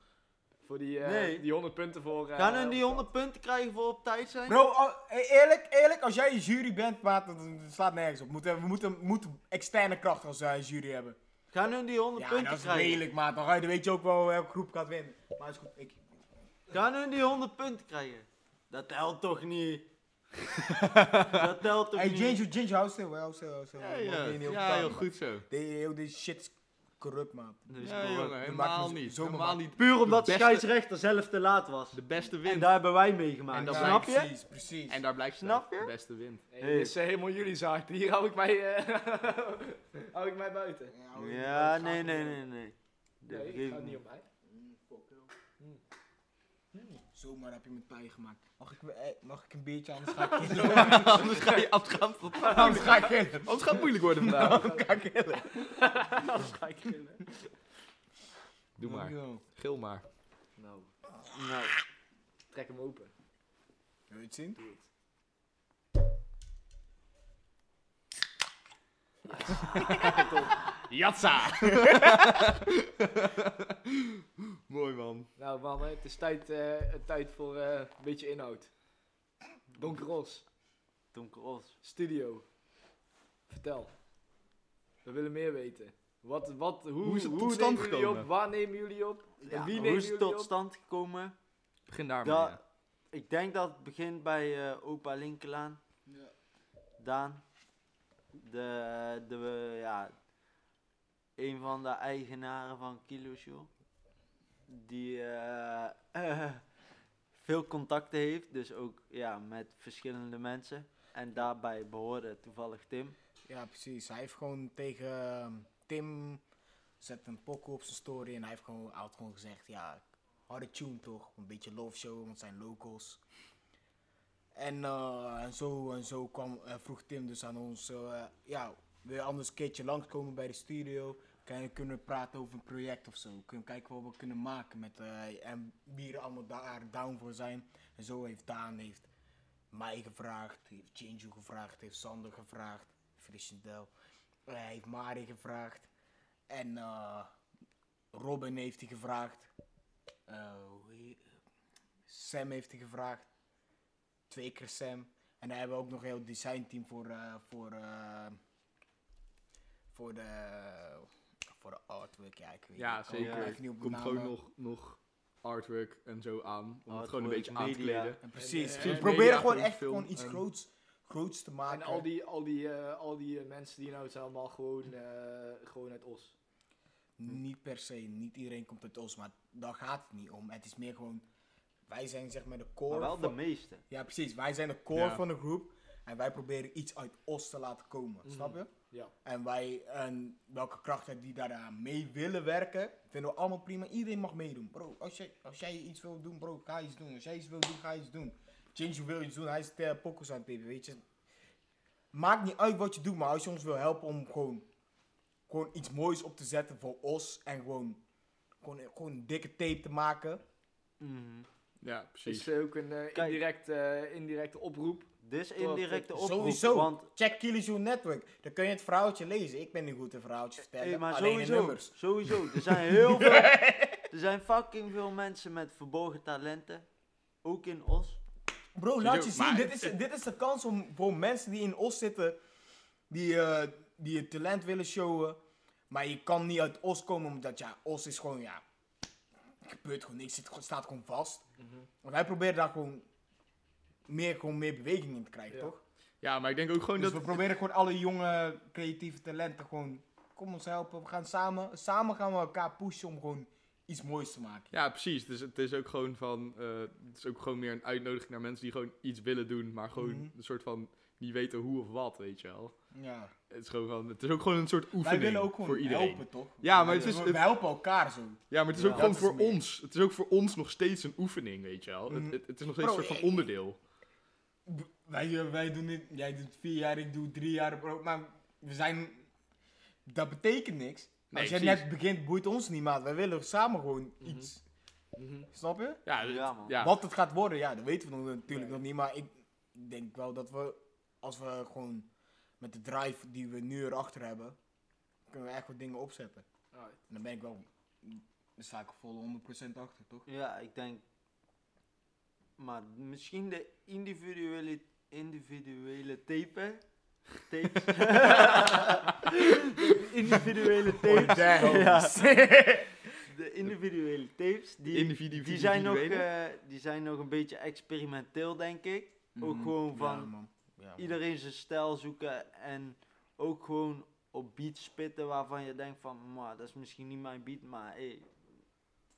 B: Voor die, eh,
D: Nee.
B: die 100 punten voor... eh,
D: Gaan hun die 100 punten krijgen voor op tijd zijn?
C: Bro, oh, eh, eerlijk, eerlijk, als jij een jury bent, maat, dat, dat slaat nergens op. Moeten, we moeten, moeten externe krachten als eh, jury hebben.
D: Gaan hun die 100
C: Ja,
D: punten
C: dat is
D: krijgen?
C: lelijk, maat. Dan ga je- dan weet je ook wel welke groep gaat winnen. Maar is goed, ik...
D: Gaan hun die 100 punten krijgen? Dat telt toch niet? [laughs] dat telt toch
C: Hey,
D: niet?
C: Ginger, Ginger, hou stil, hou stil, hou stil.
A: Ja,
C: Man,
A: ja.
C: die niet op
A: ja
C: taal,
A: heel
C: man.
A: goed zo.
C: Die- heel die shit is corrupt, man.
D: Dus
A: Ja,
D: gewoon-
A: jongen,
C: maakt me
A: helemaal
C: zo-
A: niet.
C: zomaar
A: Helemaal
C: wakker.
A: niet.
D: Puur omdat de
A: beste-
D: scheidsrechter zelf te laat was.
A: De beste
D: En
A: wint.
D: daar hebben wij meegemaakt.
A: En dat
D: snap
A: blijkt-
D: je?
C: Precies, precies.
A: En daar blijkt ze.
D: Snap je?
A: De beste wint.
B: Nee,
D: Hey.
B: dit is eh, helemaal jullie zaak. Hier hou ik mij, eh, [laughs] hou ik mij buiten.
C: Oh,
D: Ja, nee, nee, nee, nee. Dat
B: Nee, ik
D: geef
B: ga
D: ik
B: niet
D: niet.
B: op mij. [laughs]
C: Hmm. Zomaar heb je mijn pijn gemaakt. Mag ik, eh, mag ik een beetje, anders ga
A: [laughs]
C: ik
A: Anders ga je anders gaat het-
C: anders ga ik killen.
A: anders gaat Oh, het moeilijk worden vandaag.
C: Anders ga ik killen.
B: Anders ga ik eh. gillen.
A: Doe maar. Gil maar.
B: Nou,
D: Nou,
B: trek hem open.
C: Wil je het zien? [laughs]
A: Jatsa! Mooi man.
B: Nou mannen, het is tijd, eh, tijd voor eh, een beetje inhoud. Don Cross,
D: Donker Os.
B: studio. Vertel. We willen meer weten. Wat, wat, hoe,
A: Hoe is het tot stand
B: nemen jullie
A: gekomen?
B: Op, waar nemen jullie op?
D: Ja,
B: wie
D: hoe
B: nemen
D: is het
B: jullie
D: tot
B: op?
D: stand gekomen?
A: Begin daar
D: Da-
A: maar.
D: Ik denk dat het begint bij eh, opa Linkelaan. Daan. De, de, ja, een van de eigenaren van Kilo Show. Die eh, [laughs] veel contacten heeft, dus ook ja, met verschillende mensen. En daarbij behoorde toevallig Tim.
C: Ja, precies. Hij heeft gewoon tegen ehm, Tim zet een pokoe op zijn story en hij heeft gewoon, hij had gewoon gezegd, ja, harde tune toch, een beetje love show, want het zijn locals. En, eh, en zo, en zo kwam, eh, vroeg Tim dus aan ons, eh, ja, wil je anders een keertje langskomen bij de studio? Kan je- kunnen we praten over een project of zo? Kunnen we kijken wat we kunnen maken met, eh, en wie er allemaal daar down voor zijn. En zo heeft Daan, heeft mij gevraagd, heeft Jinju gevraagd, heeft Sander gevraagd, Frissendel. Hij heeft Mari gevraagd. En eh, Robin heeft hij gevraagd. Eh, hoe heet- Sam heeft hij gevraagd. Twee keer Sam. En daar hebben we ook nog een heel designteam voor, eh, voor, eh, voor de... Voor de artwork, ja, ik weet
A: Ja,
C: ik kom
A: zeker.
C: even niet op de
A: Komt gewoon
C: namen.
A: nog, nog artwork en zo aan. Om het
D: Artwork,
A: gewoon een beetje aan te
D: media.
A: kleden.
C: En precies.
B: en-
C: we
B: en
A: media,
C: proberen gewoon
A: gewoon
C: echt
A: film
C: gewoon iets
A: en-
C: groots, groots te maken.
B: En al die, al die, eh, al die eh, mensen die nou zijn allemaal gewoon, eh, gewoon uit Os.
C: Niet per se, niet iedereen komt uit ons, maar daar gaat het niet om. Het is meer gewoon, wij zijn zeg maar de core.
D: Maar wel de
C: van-
D: meeste.
C: ja, precies. Wij zijn de core
A: Ja.
C: van de groep en wij proberen iets uit ons te laten komen, snap je?
B: Ja.
C: En wij, en welke krachten die daaraan mee willen werken, vinden we allemaal prima. Iedereen mag meedoen, bro. Als jij, als jij iets wil doen, bro, ga iets doen. Als jij iets wil doen, ga iets doen. Ginger wil iets doen, hij is ter pokkels aan het pippen, weet je. Maakt niet uit wat je doet, maar als je ons wil helpen om gewoon, gewoon iets moois op te zetten voor ons en gewoon, gewoon, gewoon een dikke tape te maken.
D: Mhm.
A: Ja,
B: Is
C: Dus,
A: precies.
B: eh, ook een eh,
D: Kijk.
B: indirect, eh, indirecte oproep.
D: Dit is indirecte Dus oproep.
C: Sowieso,
D: Want
C: check Kilizoen Network. Dan kun je het verhaaltje lezen. Ik ben niet goed in verhaaltjes vertellen,
D: Hey, maar
C: alleen in
D: sowieso,
C: nummers. [laughs]
D: sowieso, er zijn heel veel, er zijn fucking veel mensen met verborgen talenten, ook in Os.
C: Bro, laat je zien.
A: maar
C: Dit is, dit is de kans om voor mensen die in Os zitten, die, eh, die je talent willen showen. Maar je kan niet uit Os komen, omdat ja, Os is gewoon, ja, er gebeurt gewoon niks. Het gewoon- staat gewoon vast.
D: Mhm.
C: Maar wij proberen daar gewoon meer, gewoon meer beweging in te krijgen,
B: Ja.
C: toch?
A: Ja, maar ik denk ook gewoon
C: Dus
A: dat...
C: we proberen gewoon alle jonge creatieve talenten gewoon, kom ons helpen. We gaan samen, samen gaan we elkaar pushen om gewoon iets moois te maken.
A: Ja, precies. Dus het is ook gewoon van. eh, het is ook gewoon meer een uitnodiging naar mensen die gewoon iets willen doen, maar gewoon
C: Mhm.
A: een soort van niet weten hoe of wat, weet je wel.
C: Ja.
A: Het is gewoon van. Het is ook gewoon een soort oefening
C: Wij willen ook
A: voor
C: gewoon
A: iedereen.
C: helpen, toch?
A: Ja, maar het is-
C: we,
A: het-
C: we helpen elkaar zo.
A: Ja, maar het is
D: Ja,
A: ook gewoon
D: dat
C: is
A: voor
C: meer.
A: ons. Het is ook voor ons nog steeds een oefening, weet je wel. Het-
C: Mhm.
A: Het, het is nog steeds
C: Bro,
A: een soort
C: ik-
A: van onderdeel.
C: B- Wij, eh, wij doen dit, jij doet vier jaar, ik doe drie jaar, bro. Maar we zijn. Dat betekent niks.
A: Nee,
C: Als jij
A: precies. Mhm.
C: net begint, boeit ons niet, maat. Wij willen samen gewoon iets. Snap je?
A: Ja, het-
D: Ja, man.
A: ja.
C: Wat het gaat worden, ja, dat weten we nog, natuurlijk nog niet. Maar ik denk wel dat we, als we gewoon met de drive die we nu erachter hebben, kunnen we echt wat dingen opzetten.
B: Alright.
C: En dan ben ik wel. Dan sta ik er vol 100% achter, toch?
D: Ja, ik denk, maar misschien de individuele, individuele tape,
C: [laughs]
D: tapes, individuele tapes, Oh,
A: Oh,
D: ja, de individuele tapes, die,
A: Individu-
D: die, zijn nog,
A: individuele.
D: eh, die zijn nog een beetje experimenteel denk ik, [laughs] ook
C: Mhm.
D: gewoon van...
C: Ja, man. Ja, man.
D: iedereen zijn stijl zoeken en ook gewoon op beats spitten waarvan je denkt van, maar dat is misschien niet mijn beat, maar hey,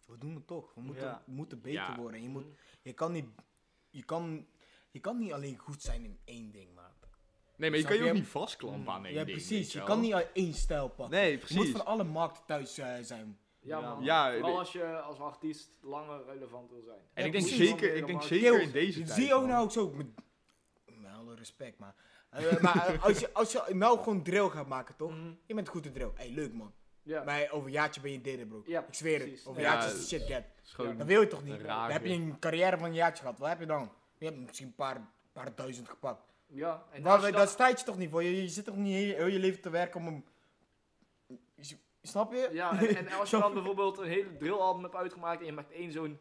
C: We doen het toch. We moeten,
D: Ja.
C: we moeten beter
A: Ja.
C: worden. Je, moet, je, kan niet, je, kan, je kan niet alleen goed zijn in één ding, maat.
A: Nee, maar je
C: Snap
A: kan je
C: je? Mm,
A: ook niet vastklampen aan één
C: ja,
A: ding, weet
C: precies. Je
A: wel.
C: kan niet aan één stijl pakken.
A: Nee,
C: je moet
A: precies.
C: van alle markten thuis eh, zijn.
B: Ja,
D: Ja,
B: man.
A: Ja,
B: Vooral
A: de-
B: als je als artiest langer relevant wil zijn.
A: En
C: Ja,
A: ik denk
C: precies.
A: zeker, ik denk
B: Markt.
A: zeker in
C: Kills.
A: deze
C: Je
A: tijd.
C: ziet ook
A: man.
C: nou ook zo. Met, met alle respect, maar. eh, maar eh, als, je, als je nou gewoon drill gaat maken, toch?
B: Mhm.
C: Je bent goed in drill. hey, leuk man.
B: Ja.
C: Maar over een jaartje ben je dit, bro.
B: Ja,
C: ik zweer
B: precies.
C: het. Over een
A: Ja,
C: jaartje is
A: het
C: de shit get.
A: Het is gewoon-
C: Dat wil je toch niet?
A: Raar
C: Dan heb je
A: weer.
C: een carrière van een jaartje gehad. Wat heb je dan? Je hebt misschien een paar, paar duizend gepakt.
B: Ja, en
C: Maar
B: als
C: dat,
B: je
C: dat
B: dat...
C: strijd je toch niet voor? Je, je zit toch niet heel, heel je leven te werken om een... Je- Snap je?
B: Ja, en, en als je
C: Zo-
B: dan bijvoorbeeld een hele drillalbum hebt uitgemaakt en je maakt één zo'n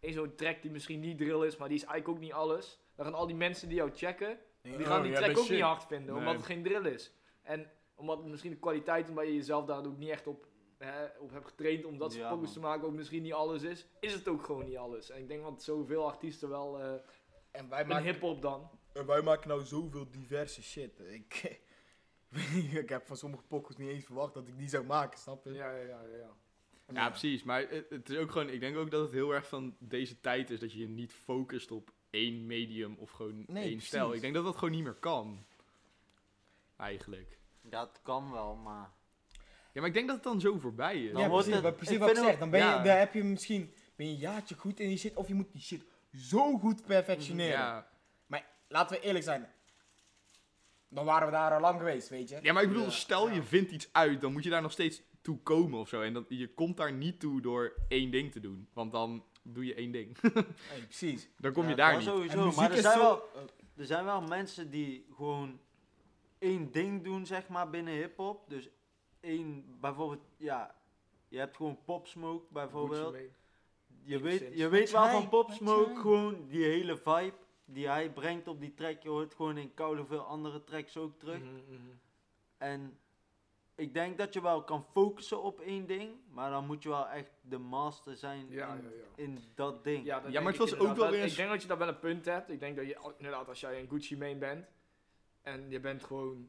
B: één zo'n track die misschien niet drill is, maar die is eigenlijk ook niet alles, dan gaan al die mensen die jou checken, die
C: Oh,
B: gaan die
C: ja,
B: track
C: dat
B: ook
C: shit.
B: niet hard vinden, omdat
C: Nee.
B: het geen drill is. En omdat het misschien de kwaliteiten waar je jezelf daar ook niet echt op, hè, op hebt getraind om dat soort
D: Ja,
B: pokus
D: man.
B: te maken ook misschien niet alles is, is het ook gewoon niet alles. En ik denk dat zoveel artiesten wel, eh
C: En wij
B: een
C: maken,
B: hip-hop dan.
C: en wij maken nou zoveel diverse shit. Ik, [laughs] ik heb van sommige pokkels niet eens verwacht dat ik die zou maken, snap je?
B: Ja, ja, ja. ja, ja.
A: Ja, precies. Maar het, het is ook gewoon, ik denk ook dat het heel erg van deze tijd is dat je je niet focust op één medium of gewoon één
C: precies.
A: stijl. Ik denk dat dat gewoon niet meer kan. Eigenlijk.
D: Ja, het kan wel, maar...
A: Ja, maar ik denk dat het dan zo voorbij is.
D: Dan
C: ja,
D: wordt
C: precies,
D: het-
C: wat- precies
D: ik
C: wat ik
D: vind
C: zeg.
D: het-
C: Dan, ben je,
A: ja.
C: dan heb je misschien ben je een jaartje goed in die shit, of je moet die shit zo goed perfectioneren.
A: ja.
C: Laten we eerlijk zijn. Dan waren we daar al lang geweest, weet je?
A: ja, maar ik bedoel, stel je vindt iets uit, dan moet je daar nog steeds toe komen of zo. En dat, je komt daar niet toe door één ding te doen. Want dan doe je één ding. [laughs]
C: Hey, precies.
A: dan kom
D: Ja,
A: je
D: het
A: daar
D: kan
A: niet.
C: En
D: Sowieso,
C: muziek
D: maar er
C: is
D: zijn,
C: zo-
D: wel, er zijn wel mensen die gewoon één ding doen, zeg maar, binnen hip-hop. Dus één, bijvoorbeeld, ja, je hebt gewoon Pop Smoke bijvoorbeeld.
B: Gucci Mane.
D: Je
B: Makes
D: weet,
B: sense.
D: je weet wel
C: Zijn,
D: van Pop
C: met
D: Smoke
C: zijn.
D: gewoon die hele vibe die hij brengt op die track. Je hoort gewoon in koude veel andere tracks ook terug.
B: Mhm, mhm.
D: En ik denk dat je wel kan focussen op één ding, maar dan moet je wel echt de master zijn
B: Ja,
D: in,
B: ja, ja.
D: in dat ding.
B: Ja, dat
A: maar
B: denk
A: het
B: ik
A: was ook
B: inderdaad
A: wel weer
B: Ik
A: eens-
B: denk dat je daar wel een punt hebt. Ik denk dat je al- inderdaad, als jij een Gucci Mane bent en je bent gewoon.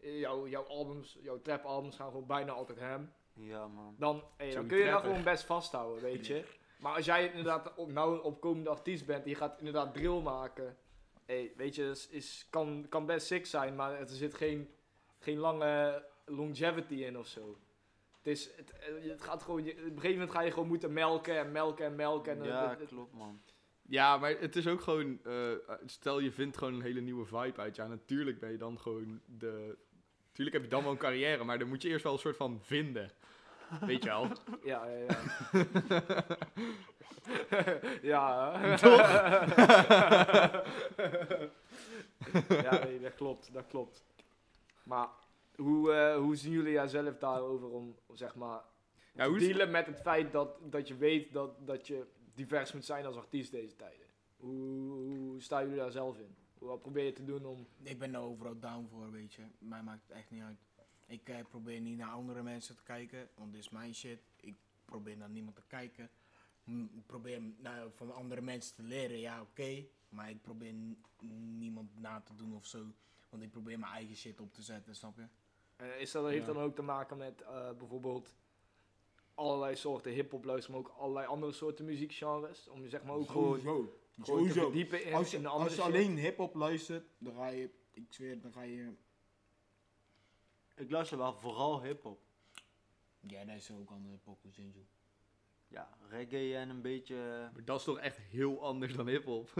B: eh, Jouw, jouw albums, jouw trap albums gaan gewoon bijna altijd hem.
D: Ja, man.
B: Dan, hey, dan
A: Zo'n
B: kun je dat
A: trapper.
B: gewoon best vasthouden, weet je. Maar als jij inderdaad op, nou een opkomende artiest bent, die gaat inderdaad drill maken. Hey, weet je, is, is, kan, kan best sick zijn, maar er zit geen, geen lange longevity in of zo. Het, is, het, eh, het gaat gewoon, je- op een gegeven moment ga je gewoon moeten melken en melken en melken. En, eh,
D: Ja,
B: het- het-
D: klopt, man.
A: Ja, maar het is ook gewoon. eh, stel je vindt gewoon een hele nieuwe vibe uit. Ja, natuurlijk ben je dan gewoon de. Natuurlijk heb je dan wel een carrière, maar dan moet je eerst wel een soort van vinden. Weet je wel? [laughs]
B: Ja, ja, ja. ja. hè?
A: Toch?
B: ja, nee, dat klopt, dat klopt. Maar hoe, eh, hoe zien jullie jezelf daarover om, zeg maar,
A: Ja,
B: te
A: hoe is-
B: dealen met het feit dat, dat je weet dat, dat je divers moet zijn als artiest deze tijden? Hoe, hoe staan jullie daar zelf in? Hoe- Wat probeer je te doen om...
C: Ik ben er overal down voor, weet je. Mij maakt het echt niet uit. Ik eh, probeer niet naar andere mensen te kijken, want dit is mijn shit. Ik probeer naar niemand te kijken. Mm, Ik probeer nou, van andere mensen te leren, ja oké. Maar ik probeer n- niemand na te doen of zo. Want ik probeer mijn eigen shit op te zetten, snap je?
B: eh, is dat, heeft
C: Ja.
B: dat dan ook te maken met eh, bijvoorbeeld allerlei soorten hip-hop luisteren, maar ook allerlei andere soorten muziekgenres? Om je zeg maar ook gewoon Gewoon te
C: Sowieso.
B: verdiepen in,
C: Als je,
B: in de andere
C: als je
B: shit.
C: alleen hip-hop luistert, dan ga je, ik zweer, dan ga je.
D: Ik luister wel vooral hip-hop.
C: Ja, dat is ook andere pokkels, Jinjo.
D: Ja, reggae en een beetje.
A: Maar dat is toch echt heel anders dan hip-hop?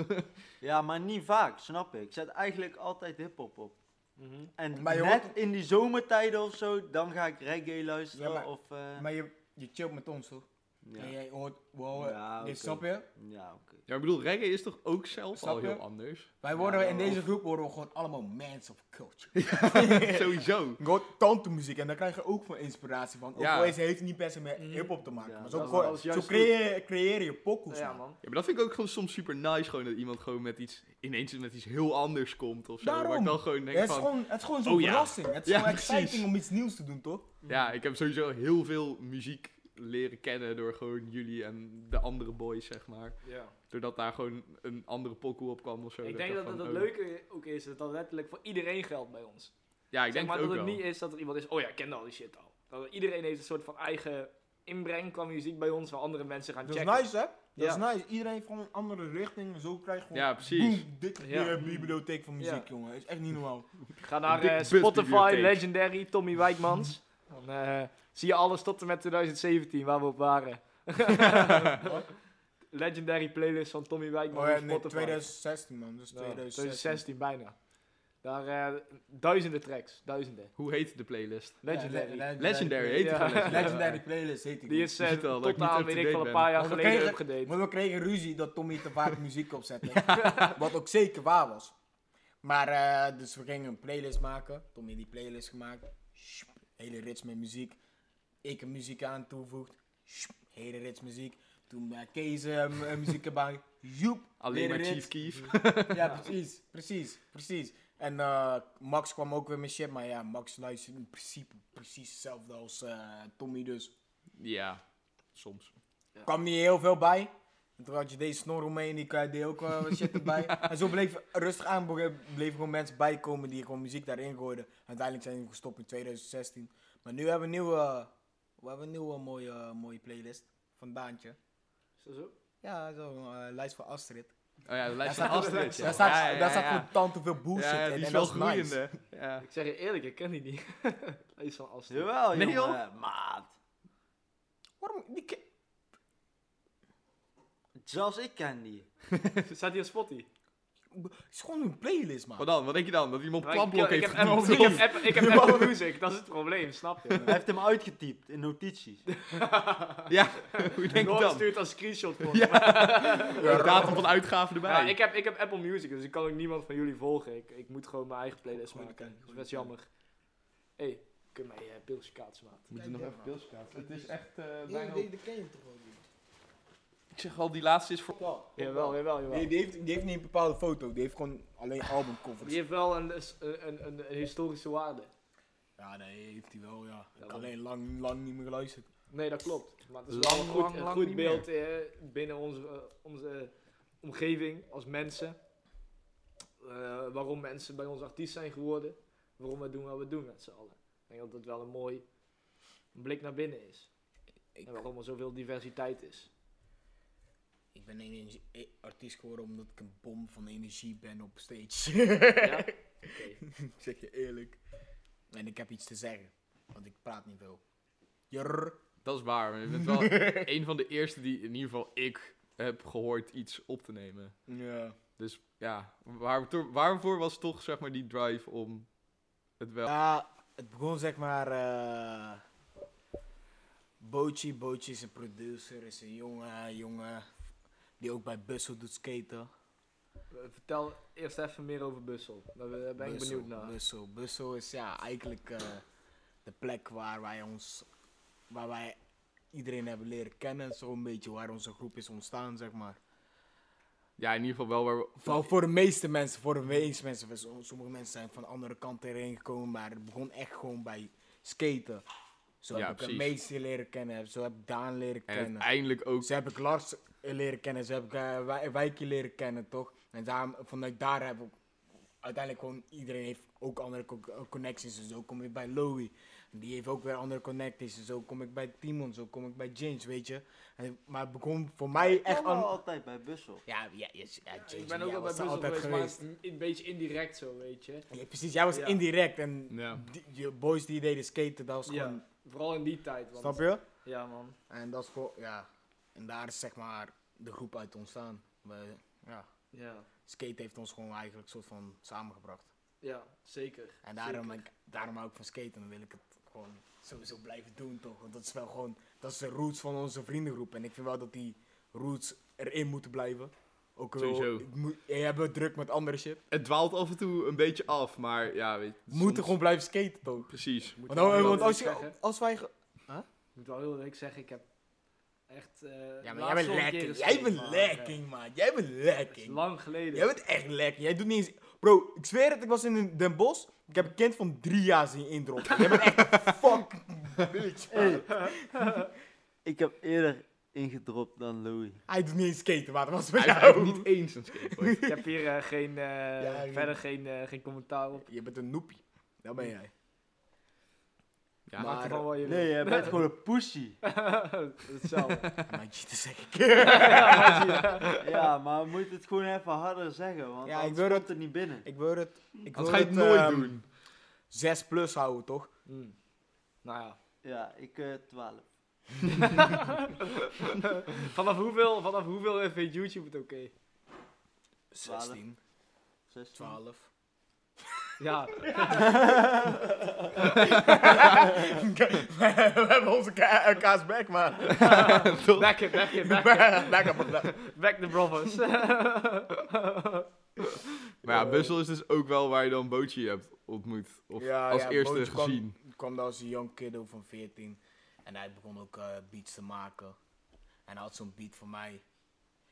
D: Ja, maar niet vaak, snap ik. Ik zet eigenlijk altijd hip-hop op.
B: Mhm.
D: En
C: Maar je
D: net
C: hoort-
D: in die zomertijden of zo, dan ga ik reggae luisteren.
C: Ja, maar-
D: of, eh,
C: Maar je, je chillt met ons toch? En
D: ja,
C: jij hoort, we horen-
D: Ja,
C: dit
D: oké.
C: snap je?
D: ja oké.
A: Ja, ik bedoel, reggae is toch ook zelf
C: Snap
A: al heel
C: je?
A: anders?
C: Wij worden
D: Ja,
C: in
D: nou,
C: deze
D: of-
C: groep worden we gewoon allemaal mans of culture. [laughs]
A: Sowieso.
C: Gewoon tante muziek en daar krijg je ook van inspiratie van. Ook
A: Ja.
C: al is heeft niet per se met
B: Mhm.
C: hip-hop te maken.
D: Ja,
C: maar
D: dat
C: zo,
D: is
C: gewoon-
B: wel juist
C: zo creëer, creëer je pokkels.
B: Ja,
C: man.
B: man.
A: Ja, maar dat vind ik ook gewoon soms super nice, gewoon dat iemand gewoon met iets, ineens met iets heel anders komt of zo. Waar
C: Daarom.
A: ik dan gewoon denk
C: het, is
A: van,
C: gewoon, het is gewoon zo'n
A: oh ja.
C: verrassing. Het is
A: Ja,
C: gewoon
A: precies.
C: exciting om iets nieuws te doen, toch?
A: ja, ik heb sowieso heel veel muziek leren kennen door gewoon jullie en de andere boys, zeg maar.
B: Ja.
A: Doordat daar gewoon een andere pokoe op kwam of zo.
B: Ik denk dat
A: van,
B: het, het
A: oh.
B: leuke ook is dat dat letterlijk voor iedereen geldt bij ons.
A: Ja, ik
B: zeg
A: denk
B: maar
A: het
B: dat
A: ook
B: het
A: wel.
B: niet is dat er iemand is, oh ja, ik ken al die shit al. Dat iedereen heeft een soort van eigen inbreng qua muziek bij ons, waar andere mensen gaan
C: Dat is
B: checken.
C: nice, hè? Dat
B: Ja.
C: is nice. Iedereen heeft gewoon een andere richting. en Zo krijg je gewoon
A: Ja, precies.
C: boem, dikke
B: Ja.
C: eh, bibliotheek van muziek,
B: Ja.
C: jongen. is echt niet normaal. Oh,
B: Ga naar
A: Een
B: eh,
A: dik
B: Spotify,
A: busbibliotheek.
B: Legendary, Tommy
A: [laughs]
B: Wijkmans. Dan eh, zie je alles tot en met 2017, waar we op
A: [laughs]
B: waren. Legendary playlist van Tommy Wijkmans
C: Oh ja,
B: op
C: nee,
B: Spotify.
C: 2016, man. Dus
B: Ja,
C: 2016.
B: 2016 bijna. Daar eh, duizenden tracks, duizenden.
A: Hoe heet de playlist?
B: Legendary.
C: Ja, le-
A: Legendary, heet die
B: Ja.
A: gewoon Legendary?
C: Legendary playlist heet die.
B: Die is
A: Je
B: eh,
A: ziet wel dat ik
B: tot
A: niet
B: aan,
A: up-to-date
B: weet ik wel,
A: ben.
B: een
A: Oh,
B: paar jaar
C: Want we
B: geleden
C: kregen-
B: upgedate.
A: [laughs]
C: Want we kregen ruzie dat Tommy te vaak muziek opzette. Wat ook zeker waar was. Maar, eh, dus we gingen een playlist maken. Tommy heeft die playlist gemaakt. Sjoep, hele rits met muziek. Ik er muziek aan toevoegt. Sjoep, hele rits muziek. Toen bij Kees eh, m- eh, muziek erbij. Joep,
A: Alleen
C: weer
A: maar
C: een
A: Chief
C: rits.
A: Keef.
C: [laughs] Ja, precies, precies, precies. En eh, Max kwam ook weer met shit, maar ja, Max luistert in principe precies hetzelfde als eh, Tommy, dus
A: Ja, soms.
C: kwam niet heel veel bij. En toen had je deze snor mee en die eh, deed ook eh, wat shit erbij. en zo bleef rustig aan, be- bleven gewoon mensen bijkomen die gewoon muziek daarin gooiden. Uiteindelijk zijn we gestopt in 2016. Maar nu hebben we een nieuwe, we hebben een nieuwe mooie, mooie playlist van Daantje.
B: Is dat zo?
C: Ja, zo'n eh, lijst van Astrid.
A: Oh ja, de lijst van
C: staat-
A: Astrid. ja.
C: Daar staat,
A: Ja, ja,
C: daar
A: ja,
C: staat
A: ja.
C: gewoon tant hoeveel bullshit
A: Ja,
C: in.
A: die
C: en
A: is wel
C: dat nice.
A: groeiende. Ja.
B: Ik zeg je eerlijk, ik ken die niet. [laughs] Lees van Astrid.
D: Jawel,
A: Nee, joh.
D: jongen. Maat.
C: Waarom? Die ki-
D: Zelfs ik ken die.
B: [laughs] Staat hier op Spotty?
C: het is gewoon een playlist, man.
A: Wat dan? Wat denk je dan? Dat iemand
B: Maar Nou, ik-
A: klamblok
B: ik
A: heeft
B: heb Apple-
A: genoemd? [laughs]
B: Ik heb Apple- ik heb Apple Music, dat is het probleem, snap je?
D: Hij heeft hem uitgetypt in notities.
A: [laughs] Ja, hoe denk je
B: Noor
A: dan?
B: stuurt als screenshot [laughs] voor
A: Ja.
B: me.
A: De datum van uitgave erbij.
B: Ja, ik, heb, ik heb Apple Music, dus ik kan ook niemand van jullie volgen. Ik, ik moet gewoon mijn eigen playlist
C: Goeie
B: maken. Dus
C: keuze,
B: Dat is
C: goeie
B: best jammer. Hé, hey, kun mij eh pilsje kaats maken?
A: Moet je nog even pilsje kaatsen? Het is echt eh,
F: Nee,
A: bijna...
F: nee, dat ken je toch wel niet?
A: Ik zeg al, die laatste is voor...
B: Jawel, jawel,
C: Die,
B: jawel.
C: die heeft, die heeft niet een bepaalde foto, die heeft gewoon
A: [laughs]
C: alleen albumcovers.
B: Die heeft wel een, een, een, een historische waarde.
C: Ja, dat heeft hij wel, ja. Ik
B: Ja,
C: heb
B: dan-
C: alleen lang, lang niet meer geluisterd.
B: Nee, dat klopt. Maar het is
A: Lang,
B: wel een goed,
A: lang,
B: een
A: lang
B: goed
A: niet
B: beeld eh, binnen onze, eh, onze omgeving als mensen. Eh, waarom mensen bij ons artiest zijn geworden. Waarom we doen wat we doen met z'n allen. Ik denk dat dat wel een mooi blik naar binnen is.
C: Ik-
B: En waarom er zoveel diversiteit is.
C: Ik ben een energie- eh, artiest geworden omdat ik een bom van energie ben op [laughs] stage.
B: Ja? Oké.
C: Ik zeg je eerlijk. En ik heb iets te zeggen, want ik praat niet veel. Jurr.
A: Dat is waar. maar Je bent [laughs] wel een van de eerste die in ieder geval ik heb gehoord iets op te nemen.
C: Ja.
A: Dus ja, waar, waarvoor was toch zeg maar die drive om het wel...
C: het begon zeg maar... eh Bochi, Bochi is een producer, is een jonge jongen die ook bij Bussel doet skaten.
B: Eh, Vertel eerst even meer over Bussel. Daar ben- daar ben ik
C: Bussel,
B: benieuwd naar.
C: Bussel. Bussel is ja, eigenlijk eh, de plek waar wij ons, waar wij iedereen hebben leren kennen. Zo'n beetje waar onze groep is ontstaan, zeg maar.
A: Ja, in ieder geval wel waar... we-
C: Voor, voor de meeste mensen, voor de meeste mensen. voor som- Sommige mensen zijn van andere kanten erheen gekomen, maar het begon echt gewoon bij skaten. Zo
A: Ja,
C: heb ik de
A: precies.
C: meeste leren kennen, zo heb ik Daan leren
A: En
C: kennen.
A: uiteindelijk ook...
C: Zo heb ik Lars eh, leren kennen, zo heb ik eh, Wij- Wijkie leren kennen, toch? En daarom, vanuit daar heb ik uiteindelijk gewoon... Iedereen heeft ook andere co- eh, connecties. En zo kom ik bij Louie. En die heeft ook weer andere connecties. En zo kom ik bij Timon, zo kom ik bij James, weet je. En, maar het begon voor mij
D: Ik
C: echt...
D: kwam
C: an-
D: wel altijd bij Bussel.
C: Ja, ja, yes, ja, James
B: Ik
C: en
B: ben ook wel
C: jij
B: bij
C: was er
B: Bussel
C: altijd
B: geweest, maar het is een beetje indirect zo, weet je.
C: Ja, precies, jij was
B: Ja.
C: indirect. En
A: Ja.
C: die- je boys die deden skaten, dat was
B: Ja.
C: gewoon...
B: Vooral in die tijd. Want,
C: Snap je?
B: Ja, man.
C: En dat is gewoon... Ja. En daar is zeg maar de groep uit ontstaan. We, ja.
B: Ja,
C: skate heeft ons gewoon eigenlijk soort van samengebracht.
B: ja zeker.
C: En daarom,
B: Zeker.
C: ik, daarom hou ik van skaten. Dan wil ik het gewoon sowieso blijven doen, toch? Want dat is wel gewoon... Dat is de roots van onze vriendengroep. En ik vind wel dat die roots erin moeten blijven. Ook al
A: Sowieso.
C: het moet- je hebt het druk met andere shit.
A: Het dwaalt af en toe een beetje af, maar ja, weet je...
C: We moeten
A: soms-
C: gewoon blijven skaten, toch?
A: Precies.
B: Moet
C: Want,
B: wel
C: eh,
B: heel
C: want als,
B: eerlijk
C: je,
B: zeggen-
C: als wij... ge-
B: Ik moet wel heel eerlijk zeggen, ik heb echt... eh,
C: Ja, maar jij
B: laatst
C: bent
B: wel een keer
C: lekking. Jij
B: gespeeld,
C: bent
B: maar, eh,
C: lekking, man. Jij bent
B: dat is
C: lekking.
B: lang geleden.
C: Jij bent echt lekking. Jij doet niet eens... Bro, ik zweer het, ik was in Den Bosch. Ik heb een kind van drie jaar zien indroppen. Jij bent echt
A: [laughs]
C: een fuck bitch. man.
D: Ik heb eerder ingedropt dan Louis.
C: Hij doet niet eens skaten, maar dat was bij
A: Hij heeft
C: jou.
A: niet eens een skateboard.
B: Ik heb hier eh, geen, eh,
C: Ja, ik-
B: verder geen, eh, geen commentaar op.
C: Je bent een noepie. Dat ben jij.
A: Ja,
C: Maar-
B: Maakt ervan
C: [laughs]
B: wat je
D: Nee,
B: wil.
D: jij bent gewoon een pussy.
B: [laughs] Hetzelfde.
C: Maar cheaten zeg ik.
D: [laughs] Ja, maar we moeten het gewoon even harder zeggen, want
C: Ja,
D: ja,
C: ik
D: ik
C: wil
D: komt
C: dat-
D: het niet binnen.
C: [laughs] Ik wil het... Ik
A: Dat
C: wil
A: ga je het
C: het,
A: nooit
C: ehm,
A: doen.
C: 6 plus houden, toch?
B: Hmm. Nou ja.
D: Ja, ik eh 12.
B: Vanaf hoeveel, vanaf hoeveel eh, vindt YouTube het oké?
C: 16,
D: 16.
C: 12.
B: Ja,
C: [laughs] We hebben onze ka- elkaars back, man.
B: back it, [laughs] back it, back it.
C: Back up, back up.
B: Back the brothers.
A: Maar
C: eh,
A: ja, Bussel is dus ook wel waar je dan Bootje hebt ontmoet. Of
C: Ja,
A: als
C: ja,
A: eerste
C: Bootje kwam-
A: gezien.
C: Ik kwam daar als een young kiddo van 14 en hij begon ook eh, beats te maken. En hij had zo'n beat voor mij.
A: Ja,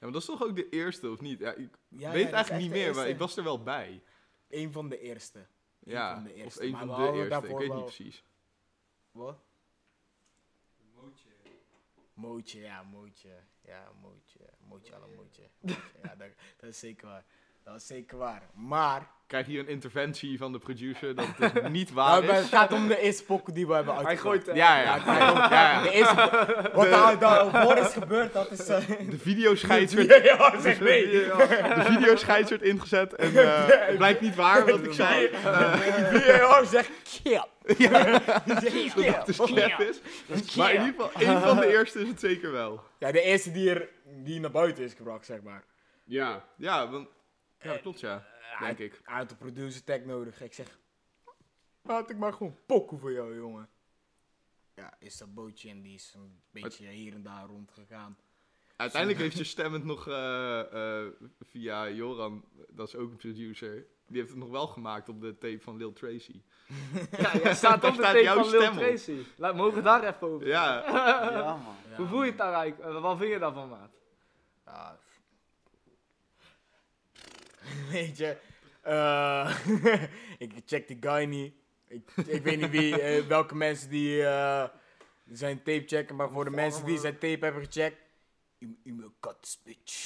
A: maar dat is toch ook de eerste, of niet? Ja, ik weet
C: Ja, ja, dat is
A: eigenlijk
C: echt
A: niet
C: de
A: meer, maar
C: eerste.
A: ik was er wel bij.
C: Eén van de eerste. Eén
A: ja,
C: van de eerste,
A: of een
C: maar
A: van
C: we
A: de
C: hadden
A: eerste, ik
C: daarvoor
A: weet
C: wel-
A: niet precies.
C: Wat? Mootje, ja, mootje. Ja, mootje. Mootje, alle mootje. Mootje, Ja, dat, dat is zeker waar. Dat is zeker waar. Maar,
A: Ik krijg hier een interventie van de producer dat
C: [laughs]
A: het niet waar
C: nou,
A: is.
C: het gaat om de eerste pokken die we hebben
B: Hij
C: uitgebracht.
B: gooit... eh,
A: Ja, dus? ja,
C: Ja, hij gooit-
A: ja,
C: [laughs] De
A: ja.
C: eerste, wat daar daarvoor is gebeurd, dat is... eh,
A: De
C: [laughs]
A: videoscheids werd,
C: ja, zeg nee.
A: de videoscheids werd ingezet en eh, het blijkt niet waar wat ik Eh, zei.
C: VAR zegt kip. [laughs]
A: Dat het klep is. Maar in ieder geval, één van
C: [laughs]
A: de eerste is het zeker wel.
C: Ja, de eerste die, er, die naar buiten is gebracht, zeg maar.
A: Ja, ja, want, ja dat klopt ja, denk ik.
C: Hij had een producer tag nodig. Ik zeg, laat ik maar gewoon pokken voor jou, jongen. Ja, is dat bootje en die is een beetje hier en daar rondgegaan.
A: Uiteindelijk heeft je stemmend nog eh, eh, via Joran, dat is ook een producer, die heeft het nog wel gemaakt op de tape van Lil Tracy.
B: [laughs] Ja, ja, staat
A: Daar
B: op de
A: staat
B: tape
A: jouw
B: van Lil
A: stem op.
B: Tracy. Laat, mogen we daar even over?
A: Ja, [laughs]
D: Ja,
B: [laughs]
D: man.
C: Ja,
B: Hoe voel je het daar eigenlijk? Eh, Wat vind je daarvan, maat?
C: Ja. [laughs] Weet je, eh, [laughs] ik check die guy niet. Ik, ik weet niet wie, eh, welke mensen die eh, zijn tape checken, maar voor de mensen die zijn tape hebben gecheckt. You, you a cut bitch.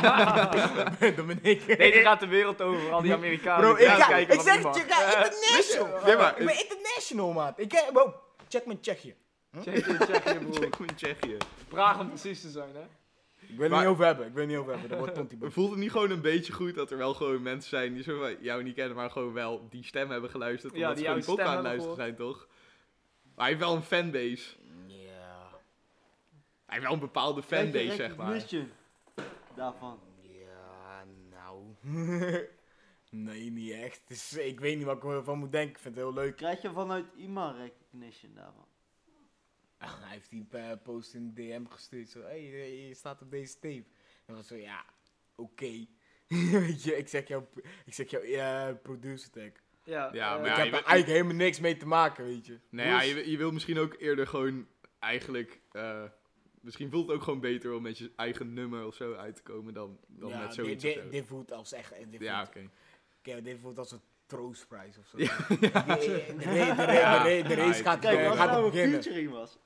C: [laughs] dat ben ik.
B: Deze gaat de wereld over, al die Amerikanen.
C: Bro, ik,
B: die
C: ga,
B: kijken
C: ik
B: wat
C: zeg
B: die
C: het
B: mag.
C: je, ik ga international.
A: Nee, maar-
C: Ik ben international, maat. Ik ga, bro, check mijn Tsjechië.
B: Check je, check je, broer.
A: check me in Tsjechië.
B: Praag om precies te zijn, hè?
C: Ik wil het niet over hebben, ik wil het niet over hebben. Dat wordt tontie, bro.
A: Voelt het niet gewoon een beetje goed dat er wel gewoon mensen zijn die zo van jou niet kennen, maar gewoon wel die stem hebben geluisterd,
B: Ja,
A: omdat
B: die
A: ze gewoon
B: jouw
A: podcast aan
B: stem
A: het luisteren zijn, toch? Maar hij heeft wel een fanbase.
C: Ja,
A: Hij heeft wel een bepaalde fanbase, zeg maar.
D: Recognition Daarvan.
C: ja, nou. [laughs] nee, niet echt. Dus ik weet niet wat ik ervan moet denken. Ik vind het heel leuk. [laughs]
D: Krijg je vanuit iemand recognition daarvan?
C: Hij heeft die eh, post in de DM gestuurd. Zo, hey, eh, je staat op deze tape. En was zo, ja, oké. [laughs] Weet je, ik zeg jouw ik zeg jou, eh, producer tag.
B: Ja,
A: Ja, maar
B: eh,
C: ik
A: ja,
C: heb
A: je
C: er
A: bent-
C: eigenlijk helemaal niks mee te maken, weet je.
A: Nee, ja, je, je wil misschien ook eerder gewoon eigenlijk. eh, misschien voelt het ook gewoon beter om met je eigen nummer of zo uit te komen dan, dan
C: ja,
A: met
C: dit-
A: zoiets.
C: dit,
A: of zo.
C: dit voelt als echt. Dit voelt,
A: ja,
C: ja,
A: oké.
C: dit voelt als een troostprijs of zo.
A: [laughs] Ja.
C: De, de, ra- de ra-
A: Ja.
C: de ra- de race
A: Ja,
C: gaat,
D: Kijk,
A: eh,
D: als
C: gaat
D: nou een
C: beginnen.
D: featuring was.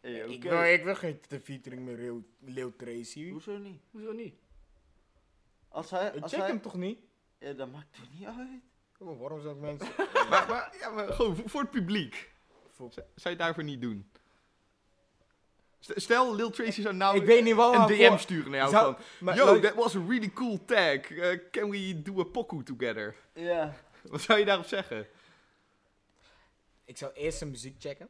D: Hey,
C: Ik,
D: oké.
C: wil, ik wil geen te- featuring met Leo, Leo Tracy.
D: Hoezo niet?
B: Hoezo niet?
D: Als hij,
C: Ik
D: als
C: check
D: hij,
C: hem toch niet?
D: ja, dat maakt het niet uit.
C: Oh, waarom zou ik mensen...
D: [laughs]
A: Maar, maar, ja, maar [laughs] gewoon voor, voor het publiek.
C: Voor-
A: Z- Zou je daarvoor niet doen? St- Stel, Lil Tracy zou nou
C: ik weet niet wat
A: een
C: hij
A: DM
C: voor-
A: sturen naar jou
C: Zou-
A: van...
C: maar
A: Yo,
C: luister-
A: that was a really cool tag. Eh, can we do a pokoe together? [laughs]
D: Ja.
A: Wat zou je daarop zeggen? Oké.
C: Ik zou eerst zijn muziek checken.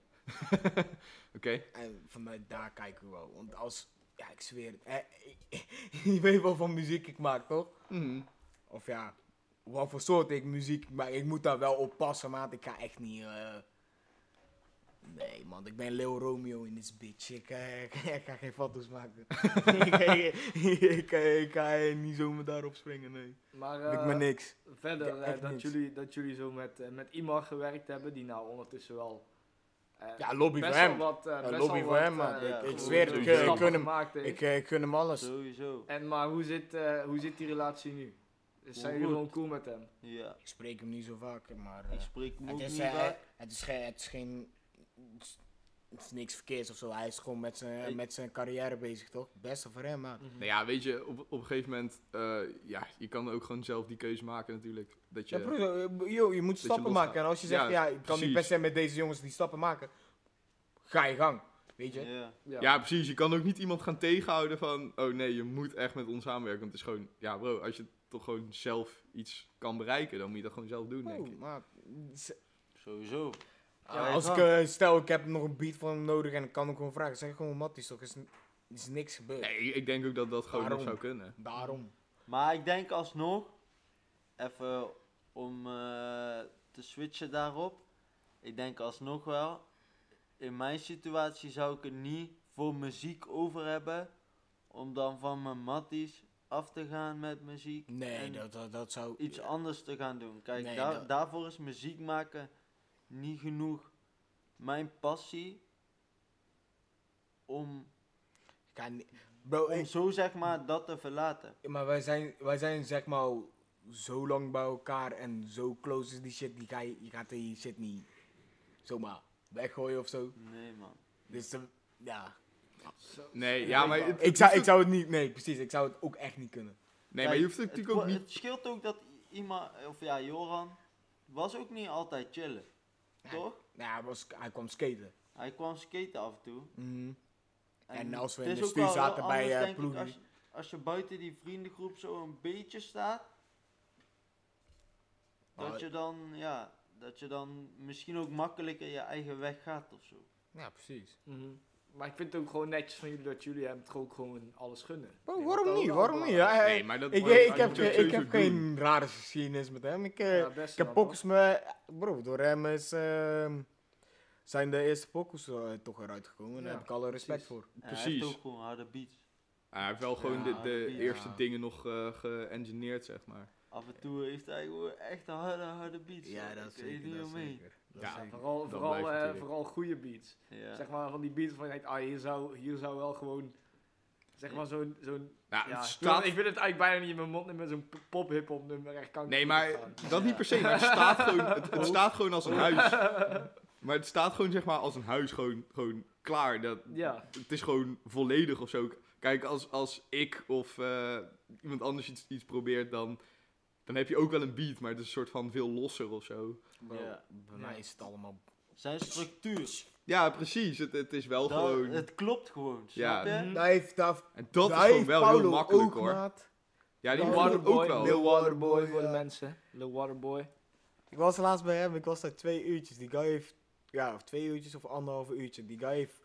C: En vanuit daar kijken we wel. Want als... Ja, ik zweer het. eh, [laughs] je weet wel van muziek ik maak, toch?
A: Mhm.
C: Of ja, wat voor soort ik muziek maak. Ik moet daar wel op passen, maat. Ik ga echt niet... eh, Nee, man. Ik ben Leo Romeo in this bitch. Ik, eh, [laughs] ik, ga geen foto's maken. [laughs] ik, ik, ik, ik ga eh, niet zomaar daarop springen, nee.
B: Maar
C: Doe ik
B: eh,
C: maar niks.
B: verder,
C: Ja,
B: eh,
C: echt
B: dat,
C: niks.
B: jullie, dat jullie zo met, eh, met Imar gewerkt hebben, die nou ondertussen wel... eh,
C: Ja, lobby
B: best
C: voor hem.
B: wel wat, eh, best
C: lobby
B: wel
C: voor
B: wat,
C: hem, man.
B: eh,
D: Ik- ik
B: goede
D: zweer het, ik, eh,
B: stappen
C: ik gun hem.
B: gemaakt heeft.
C: Ik, eh, ik gun hem alles.
D: Sowieso.
B: En maar hoe zit, eh, hoe zit die relatie nu? Zijn jullie
D: Goed.
B: gewoon cool met hem?
D: Ja,
C: Ik spreek hem niet zo vaak, maar... eh,
D: ik spreek me ook
C: het, is,
D: niet
C: eh,
D: uit.
C: het, is geen, het is geen... het is- Het is niks verkeerds of zo. Hij is gewoon met zijn,
D: Ik-
C: met zijn carrière bezig, toch? Het Beste voor hem, man.
A: Nou ja, weet je, op, op een gegeven moment... eh, ja, je kan ook gewoon zelf die keuze maken natuurlijk. Dat je...
C: Ja, broer, eh, yo, je moet stappen
A: losgaat.
C: maken. En als je zegt,
A: Ja,
C: ja, ik kan
A: precies.
C: niet best zijn met deze jongens die stappen maken, ga je gang. Weet je?
D: Ja.
A: Ja, precies. Je kan ook niet iemand gaan tegenhouden van... Oh nee, je moet echt met ons samenwerken. Want het is gewoon... Ja bro, als je toch gewoon zelf iets kan bereiken... Dan moet je dat gewoon zelf doen, denk
C: Oh,
A: ik.
C: maar, z-
D: Sowieso.
C: ah, als ik, eh, stel, ik heb nog een beat van hem nodig en ik kan hem gewoon vragen. Zeg gewoon, Matties, toch? Is, n- is niks gebeurd.
A: Nee, ik- ik denk ook dat dat gewoon nog
C: Waarom?
A: zou kunnen.
C: Daarom.
D: Maar ik denk alsnog, even om eh, te switchen daarop. Ik denk alsnog wel, in mijn situatie zou ik het niet voor muziek over hebben. Om dan van mijn matties af te gaan met muziek.
C: Nee,
D: en
C: dat, dat, dat zou...
D: Iets anders te gaan doen. Kijk,
C: Nee,
D: daar-
C: dat-
D: daarvoor is muziek maken niet genoeg. Mijn passie om,
C: Ik ga niet- Bro,
D: om
C: ik-
D: zo zeg maar dat te verlaten.
C: maar wij zijn, wij zijn zeg maar zo lang bij elkaar en zo close is die shit. Die ga je, je gaat die shit niet zomaar weggooien of zo.
D: Nee man.
C: Dus eh, ja.
A: Nee, ja, maar, het-
C: Ik zou, ik zou het niet... Nee, precies. Ik zou het ook echt niet kunnen.
A: nee, maar je
D: Kijk,
A: hoeft het
D: het,
A: natuurlijk ook
D: wa-
A: niet...
D: Het scheelt ook dat i- iemand, of ja, Joran, was ook niet altijd chillen. Toch?
C: Nou, hij, was, hij kwam skaten.
D: Hij kwam skaten af en toe.
C: En als we
D: het
C: in
D: is
C: de
D: ook
C: stuur
D: wel heel
C: zaten bij,
D: anders,
C: eh,
D: denk ik,
C: ploeg-
D: Als, als je buiten die vriendengroep zo een beetje staat, dat
C: Maar-
D: je dan, ja, dat je dan misschien ook makkelijker je eigen weg gaat of zo.
C: Ja, precies.
B: Mhm. Maar ik vind het ook gewoon netjes van jullie dat jullie hem toch ook gewoon alles gunnen.
C: Bro,
B: Ik denk
C: waarom
B: dat
C: niet?
B: dat
C: Waarom
B: wel
C: niet? Ja, hij-
A: maar dat
C: ik,
A: wordt-
C: ik
A: dat
C: heb,
A: moet je ook
C: ge- ik heb
A: sowieso doen.
C: geen rare geschiedenis met hem. Ik, eh,
B: belangrijk- Ja, best
C: ik heb
B: wel,
C: pokus me... Bro, door hem is, ehm, zijn de eerste pokus eh, toch eruit gekomen. Daar
B: Ja,
C: heb ik alle respect
B: precies.
C: voor.
D: En Hij
A: Precies.
D: heeft ook gewoon harde beats.
A: Ah, hij heeft wel gewoon
C: Ja,
A: de, de
D: ja.
A: eerste dingen nog eh geëngineerd, zeg maar.
D: Af en toe heeft hij gewoon echt een harde, harde beats. man. Ik weet niet omheen.
A: Ja,
B: toch? Vooral,
A: Dat
B: vooral,
A: blijft
B: eh,
A: natuurlijk.
B: vooral goede beats.
D: Ja.
B: Zeg maar van die beats van je denkt, ah, hier zou, hier zou wel gewoon. Zeg maar zo'n. zo'n
A: Nou,
B: ja,
A: het
B: ik, wil,
A: staat...
B: ik wil het eigenlijk bijna niet in mijn mond nemen met zo'n p- pop-hip-hop nummer. Echt, kan ik
A: Nee,
B: niet
A: maar
B: opgaan.
A: dat niet per se, maar het staat gewoon, het, het staat gewoon als een huis. Maar het staat gewoon, zeg maar, als een huis gewoon, gewoon klaar. Dat,
B: Ja,
A: het is gewoon volledig of zo. Kijk, als, als ik of eh, iemand anders iets, iets probeert, dan, dan heb je ook wel een beat, maar het is een soort van veel losser of zo.
C: Bro,
D: Ja.
C: bij
B: Ja.
C: mij is het allemaal...
D: Zijn structuur,
A: Ja, precies. Het, het is wel
D: dat-
A: gewoon...
D: het klopt gewoon,
A: Ja.
D: snap je?
B: Mhm.
C: Daar heeft, daar,
A: En dat
C: daar
A: is gewoon
C: heeft
A: wel
C: Paulo
A: heel makkelijk,
C: ook,
A: hoor.
C: maat.
A: Ja, die
C: Ja,
A: waren
C: Waterboy,
A: ook wel.
C: Lil
B: Lil Waterboy
C: Waterboy,
B: voor de
C: ja.
B: mensen. Lil Waterboy.
C: Ik was laatst bij hem. Ik was daar twee uurtjes. Die guy heeft... Ja, of twee uurtjes of anderhalf uurtje. Die guy heeft...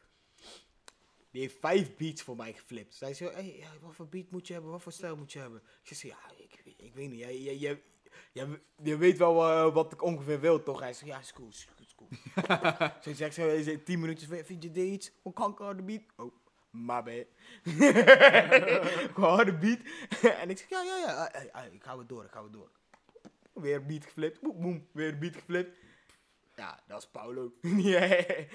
C: Die heeft vijf beats voor mij geflipt. Zij zei, hey, ja, wat voor beat moet je hebben? Wat voor stijl moet je hebben? Ik zei, ja, ik, ik weet niet. Jij, jij, jij, jij- je weet wel eh, wat ik ongeveer wil, toch? Hij zei, ja, is cool, is cool, is cool. Ze zegt zo, is het tien minuutjes, weer, vind je dit iets? Hoe kan ik harde beat? Oh, maar ben Gewoon harde beat. [laughs] en ik zeg, ja, ja, ja, eh, eh, eh, ik hou het door, ik hou het door. Weer beat geflipt, boem, boem, weer beat geflipt. Ja, dat is [laughs] Paulo. yeah.
A: Ja,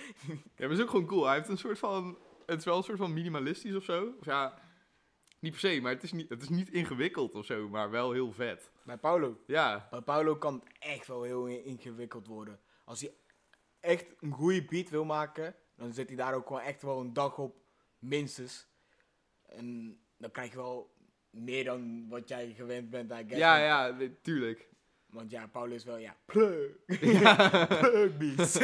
A: maar het is ook gewoon cool. Hij heeft een soort van... Het is wel een soort van minimalistisch of zo. Of ja, niet per se, maar het is niet, het is niet ingewikkeld of zo, maar wel heel vet.
C: Bij Paulo.
A: Ja,
C: Bij Paulo kan het echt wel heel in- ingewikkeld worden. Als hij echt een goede beat wil maken, dan zit hij daar ook gewoon echt wel een dag op, minstens. En dan krijg je wel meer dan wat jij gewend bent aan guess.
A: ja, ja, nee, tuurlijk.
C: Want ja, Paulo is wel,
A: [laughs]
C: ja, plug. [laughs] plug beats.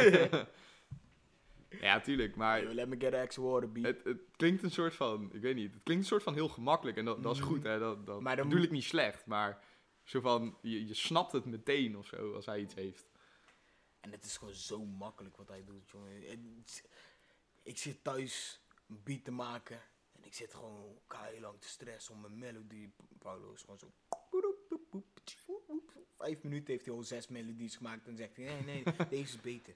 A: Ja, tuurlijk, maar...
C: Yo, Let me get an extra water beat.
A: Het, het klinkt een soort van, ik weet niet, het klinkt een soort van heel gemakkelijk en dat, dat is goed, hè, dat, dat
C: Mhm. Maar dan
A: bedoel
C: moet-
A: ik niet slecht, maar zo van, je, je snapt het meteen of zo als hij iets heeft.
C: En het is gewoon zo makkelijk wat hij doet, jongen. Het- ik zit thuis een beat te maken. En ik zit gewoon heel lang te stressen om mijn melody. Paulo is gewoon zo... Vijf minuten heeft hij al zes melodies gemaakt. En zegt hij, nee,
A: [laughs]
C: nee, deze is beter.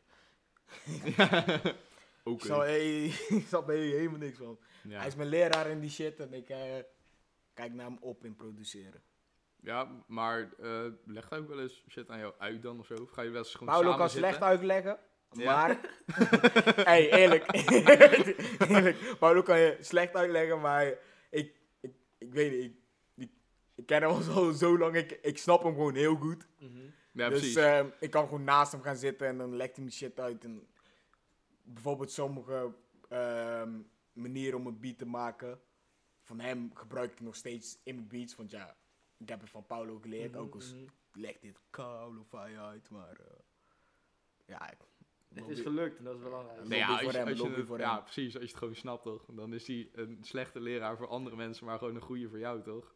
C: Ik
A: Oké.
C: snap [laughs] hey, ik snap er helemaal niks van. Hij
A: Ja.
C: is mijn leraar in die shit. En ik eh, kijk naar hem op in produceren.
A: ja, maar eh legt hij ook wel eens shit aan jou uit dan of zo? Of ga je wel eens gewoon
C: Paulo
A: samen
C: kan
A: zitten?
C: slecht uitleggen,
A: Ja.
C: maar...
A: [laughs]
C: hey, eerlijk. [laughs] eerlijk. Paulo kan je slecht uitleggen, maar ik, ik, ik weet niet. Ik, ik, ik ken hem al zo, zo lang, ik, ik snap hem gewoon heel goed.
A: Ja,
C: dus
A: precies.
C: ehm, ik kan gewoon naast hem gaan zitten en dan legt hij me shit uit. En bijvoorbeeld sommige ehm, manieren om een beat te maken, van hem gebruik ik nog steeds in mijn beats. Want ja, ik heb het van Paulo geleerd, ook als
B: Mhm.
C: legt dit koude fijn uit, maar... eh, ja, ik-
B: Het is gelukt en dat is belangrijk.
C: Nee,
A: Nee, ja,
C: lobby
A: als, je-
C: voor hem,
A: als je
C: lobby
A: het-
C: voor
A: ja,
C: hem.
A: precies, als je het gewoon snapt toch, dan is hij een slechte leraar voor andere mensen, maar gewoon een goede voor jou toch?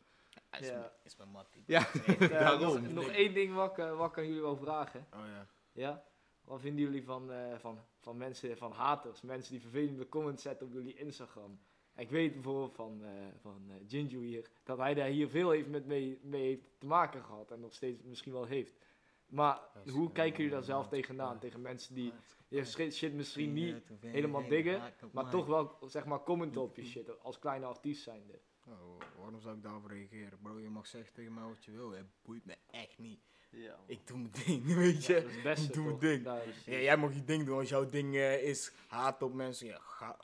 C: hij is,
B: Ja.
C: mijn- is mijn mattie.
A: Ja,
B: [laughs] Eh,
A: daarom.
B: nog, nog één ding wat ik, eh, wat ik aan jullie wil vragen.
C: Oh ja.
B: Ja? Wat vinden jullie van, eh, van, van mensen, van haters? Mensen die vervelende comments zetten op jullie Instagram. Ik weet bijvoorbeeld van, eh van eh, Jinju hier, dat hij daar hier veel heeft met mee, mee heeft te maken gehad. En nog steeds misschien wel heeft. Maar
C: Dat is-
B: hoe kijken jullie daar
C: eh,
B: zelf
C: eh,
B: tegenaan?
C: eh,
B: Tegen mensen die je shit shit misschien niet,
C: helemaal [laughs]
B: helemaal diggen, maar toch wel zeg maar comment op je shit. Als kleine artiest zijnde.
C: Nou, waarom zou ik daarop reageren? Bro, je mag zeggen tegen mij wat je wil. Het boeit me echt niet.
D: Ja, man.
C: Ik doe mijn ding, [laughs] weet je.
B: dat is het beste,
C: doe mijn
B: toch?
C: ding.
B: Daar-
C: Ja, jij mag je ding doen. Als jouw ding eh, is haat op mensen, ja, ga,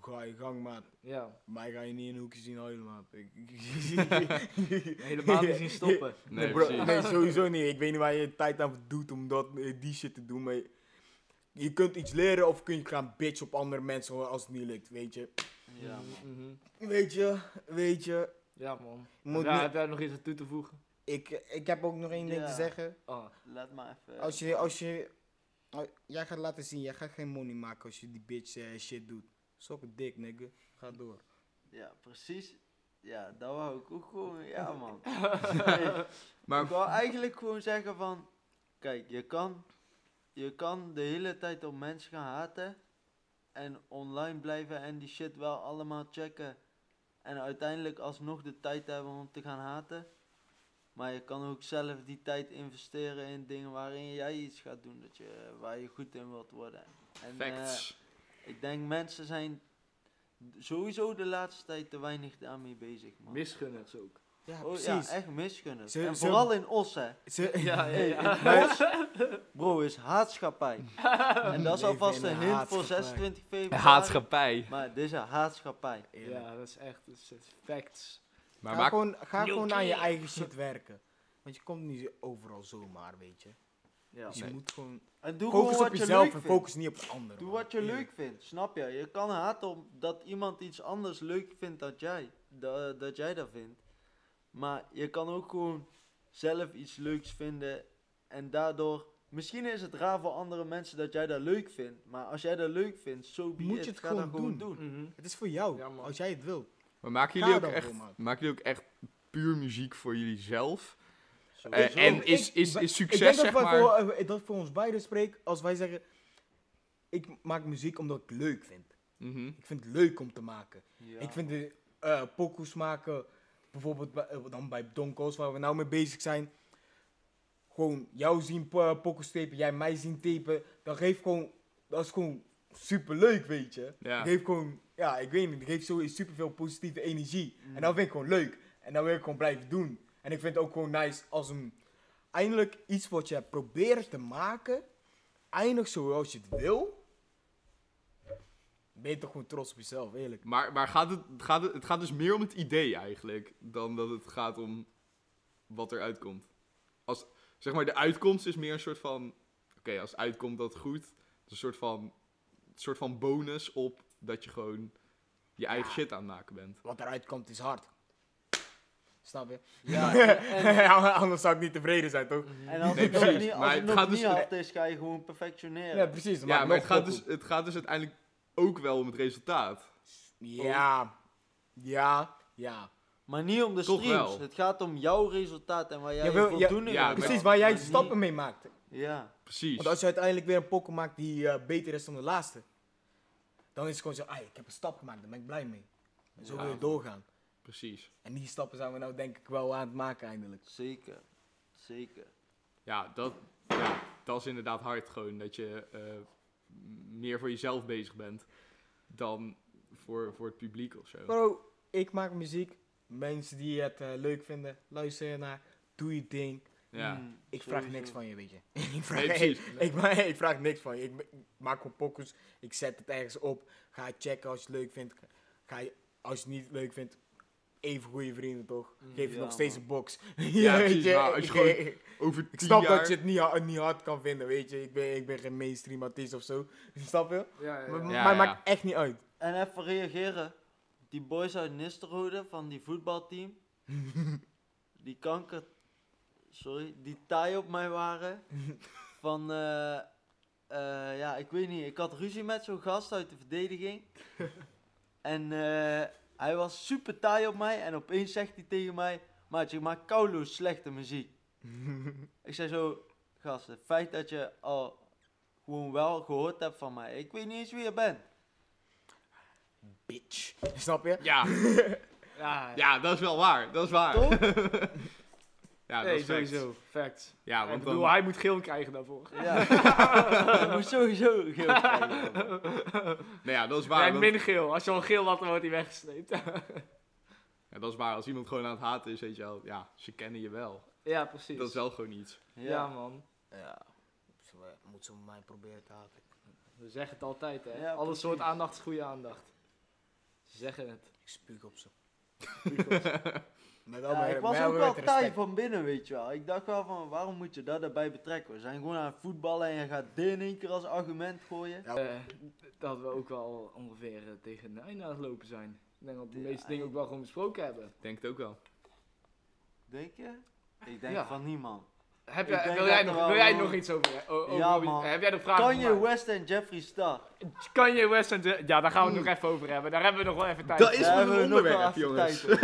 C: ga je gang, maat.
B: ja.
C: Mij ga je niet in een hoekje zien huilen, maat. Ik- [laughs]
B: Helemaal niet zien stoppen.
A: Nee,
C: Nee, bro,
A: precies.
C: nee, sowieso niet. Ik weet niet waar je je tijd aan doet om dat, eh, die shit te doen. Maar je- je kunt iets leren of kun je gaan bitch op andere mensen hoor, als het niet lukt, weet je.
D: Ja, man.
B: Mhm, mhm.
C: Weet je, weet je.
B: Ja, man.
C: Moet
B: ja,
C: niet-
B: heb jij nog iets aan toe te voegen?
C: ik, ik heb ook nog één ding
D: Ja.
C: te zeggen.
B: Oh,
D: Laat maar even.
C: Als je, als je, al- jij gaat laten zien, jij gaat geen money maken als je die bitch eh, shit doet. Sok een dik, nigga. Ga door.
D: Ja, precies. Ja, dat wou ik ook gewoon. Ja,
A: [laughs]
D: man. Hey,
A: Maar-
D: Ik wou eigenlijk gewoon zeggen van... Kijk, je kan, je kan de hele tijd op mensen gaan haten. En online blijven en die shit wel allemaal checken. En uiteindelijk alsnog de tijd hebben om te gaan haten. Maar je kan ook zelf die tijd investeren in dingen waarin jij iets gaat doen. Dat je, waar je goed in wilt worden. En, eh,
A: Facts.
D: ik denk mensen zijn sowieso de laatste tijd te weinig daarmee bezig, man.
B: misgunners ook.
C: Ja,
D: Oh, ja,
C: precies.
D: echt misgunnen.
C: Ze-
D: En
C: ze-
D: vooral in Os, hè.
C: Ze- [laughs]
B: Ja, ja,
D: Hey,
B: ja.
D: in Os, bro, is haatschappij. en dat is
C: Leven
D: alvast
C: in een
D: een hint voor
C: haatschappij.
D: 26 februari.
A: Haatschappij.
D: Maar dit is een haatschappij.
B: Ja, dat is echt dat is echt facts.
A: Maar
C: ga
A: maak...
C: gewoon, ga gewoon aan je eigen shit werken. Want je komt niet overal zomaar, weet je.
D: Ja.
C: Dus je
A: Nee.
C: moet gewoon
D: En doe
C: focus
D: gewoon
C: op
D: wat je leuk
C: jezelf en
D: vindt.
C: focus niet op de anderen.
D: Doe
C: man.
D: wat je
C: Eerlijk.
D: leuk vindt, snap je? Je kan haten omdat iemand iets anders leuk vindt dan jij. Da- dat jij dat vindt. Maar je kan ook gewoon zelf iets leuks vinden. En daardoor... Misschien is het raar voor andere mensen dat jij dat leuk vindt. Maar als jij dat leuk vindt, zo so be
C: Moet
D: it.
C: je het
D: Ga
C: gewoon
D: dat gewoon
C: doen. Mm.
D: doen.
B: Mhm.
C: Het is voor jou,
B: Ja, man.
C: als jij het wilt.
A: maar maken
C: Ga
A: jullie, ook
C: dan
A: echt,
C: voor, man.
A: maken jullie ook echt puur muziek voor jullie zelf?
D: Sowieso.
A: Eh, en is,
C: Ik-
A: is,
C: ik-
A: is
C: Ik
A: succes,
C: denk dat,
A: zeg
C: wij
A: maar...
C: voor, eh, dat ik voor ons beiden spreek als wij zeggen... Ik maak muziek omdat ik het leuk vind.
A: Mhm.
C: Ik vind het leuk om te maken.
D: Ja.
C: Ik vind de eh pokoes maken, bijvoorbeeld bij- eh, dan bij Donkos waar we nou mee bezig zijn. Gewoon jou zien po- pokoes tapen, jij mij zien tapen. Dat geeft gewoon, dat is gewoon superleuk, weet je.
A: Ja.
C: Dat geeft gewoon, ja, ik weet niet, dat geeft zo superveel positieve energie. En dat vind ik gewoon leuk. En dat wil ik gewoon blijven doen. En ik vind het ook gewoon nice als een, eindelijk iets wat je probeert te maken, eindigt zoals je het wil. Ben je toch gewoon trots op jezelf, eerlijk.
A: Maar, maar gaat het, gaat het, het gaat dus meer om het idee eigenlijk, dan dat het gaat om wat eruit komt. Als, zeg maar, de uitkomst is meer een soort van, oké, als het uitkomt dat het goed, het is een soort van, een soort van bonus op dat je gewoon je eigen shit aan het maken bent.
C: wat eruit komt is hard. Snap je? [laughs]
D: Ja,
C: Anders zou ik niet tevreden zijn, toch?
D: En als
A: Nee,
D: het nog
A: precies,
D: niet, als
A: maar
D: het
A: het
D: nog
A: gaat dus-
D: niet hard is, ga je gewoon perfectioneren.
C: Ja, precies. dan maak
A: Ja,
C: ik
A: maar het
C: nog
A: gaat,
C: pokoe.
A: dus, het gaat dus uiteindelijk ook wel om het resultaat.
C: Ja, ja, ja.
D: Maar niet om de
A: Toch
D: streams.
A: wel.
D: Het gaat om jouw resultaat en waar jij
C: Je wil- ja,
D: voldoening
A: ja,
D: aan
C: Precies,
D: hebt.
C: waar jij
D: Maar
C: de stappen
D: niet-
C: mee maakt.
D: Ja.
A: Precies.
C: Want als je uiteindelijk weer een pokken maakt die eh, beter is dan de laatste, dan is het gewoon zo, ah, ik heb een stap gemaakt, daar ben ik blij mee. En zo
A: Ja.
C: wil je doorgaan.
A: Precies.
C: En die stappen zijn we nou denk ik wel aan het maken eindelijk.
D: Zeker. Zeker.
A: Ja, dat, ja, dat is inderdaad hard gewoon, dat je eh, meer voor jezelf bezig bent dan voor, voor het publiek of zo.
C: Bro, ik maak muziek. Mensen die het eh, leuk vinden, luister ernaar. Doe je ding.
A: Ja.
D: Mm,
C: Ik vraag
D: sowieso.
C: niks van je, [laughs] weet je. ik, vraag,
A: Nee, precies.
C: ik, ma- [laughs] ik vraag niks van je. Ik ma- maak gewoon pokus. Ik zet het ergens op. Ga het checken als je het leuk vindt. Ga je, als je het niet leuk vindt, even goede vrienden toch? Geef je
D: ja,
C: nog steeds
D: man.
C: een
A: [laughs]
C: box.
A: Mm, Ja,
C: Weet
A: precies, maar als je gewoon
C: [laughs] ik,
A: Over
C: ik
A: tien
C: snap
A: jaar...
C: dat je het niet, ha- niet hard kan vinden, weet je. Ik ben, ik ben geen mainstream artiest of zo. [laughs] Snap je?
B: Ja, ja,
C: Maar,
B: ja.
A: Eh, Ja,
C: maar
A: ja.
C: maakt echt niet uit.
D: En even reageren. Die boys uit Nisterode van die voetbalteam. die kanker... Sorry. Die taai op mij waren. van... eh, eh, ja, ik weet niet. Ik had ruzie met zo'n gast uit de verdediging. en eh, hij was super taai op mij. En opeens zegt hij tegen mij... Maatje, je maakt kouloos slechte muziek. ik zei zo... Gast, het feit dat je al gewoon wel gehoord hebt van mij. Ik weet niet eens wie je bent.
C: Bitch. [laughs] Snap je?
A: Ja,
B: ja,
A: ja, dat is wel waar. Dat is waar.
D: Toch?
A: ja,
B: nee,
A: dat is fact.
B: sowieso. Facts.
A: Ja,
B: ik
A: want
B: bedoel,
A: dan...
B: hij moet geel krijgen daarvoor. [laughs]
D: Ja. Hij moet sowieso geel krijgen. man.
A: Nee, ja, dat is waar.
B: Nee,
A: want-
B: min geel. Als je al geel had, dan wordt hij weggesleept.
A: Ja, dat is waar. Als iemand gewoon aan het haten is, weet je wel, ja, ze kennen je wel.
B: Ja, precies.
A: Dat is wel gewoon iets.
B: ja. man.
C: Ja, ze, eh, moet ze mij proberen te haten.
B: We zeggen het altijd, hè.
D: Ja,
B: Alle
D: precies.
B: soort aandacht is goede aandacht. Ze zeggen het.
C: Ik spuug op ze.
D: Ja, ik was ook wel taai van binnen, weet je wel. Ik dacht wel van, waarom moet je dat erbij betrekken? We zijn gewoon aan het voetballen en je gaat dit in één keer als argument gooien.
B: Eh, dat we ook wel ongeveer eh, tegen een einde aan het lopen zijn. Ik denk dat we de
D: Ja,
B: meeste dingen ook wel gewoon besproken hebben.
A: Denk het ook wel.
D: Denk je? Ik denk
B: Ja.
D: van niemand.
B: Heb
D: Ik
B: jij,
D: denk
B: wil,
D: dat
B: jij
D: er
B: nog,
D: wel
B: wil jij
D: wel-
B: nog iets over... o- over-
D: Ja, man.
B: Heb jij nog vragen
D: Kan je
B: voor mij?
D: West en Jeffree Star?
B: Kanye West en... de- Ja, daar gaan we
A: Hmm.
B: het nog even over hebben. Daar hebben we nog wel even tijd
A: Dat
B: voor.
A: is
D: Daar
A: mijn
D: hebben we nog wel
A: onderwerp,
D: even
A: jongens.
D: tijd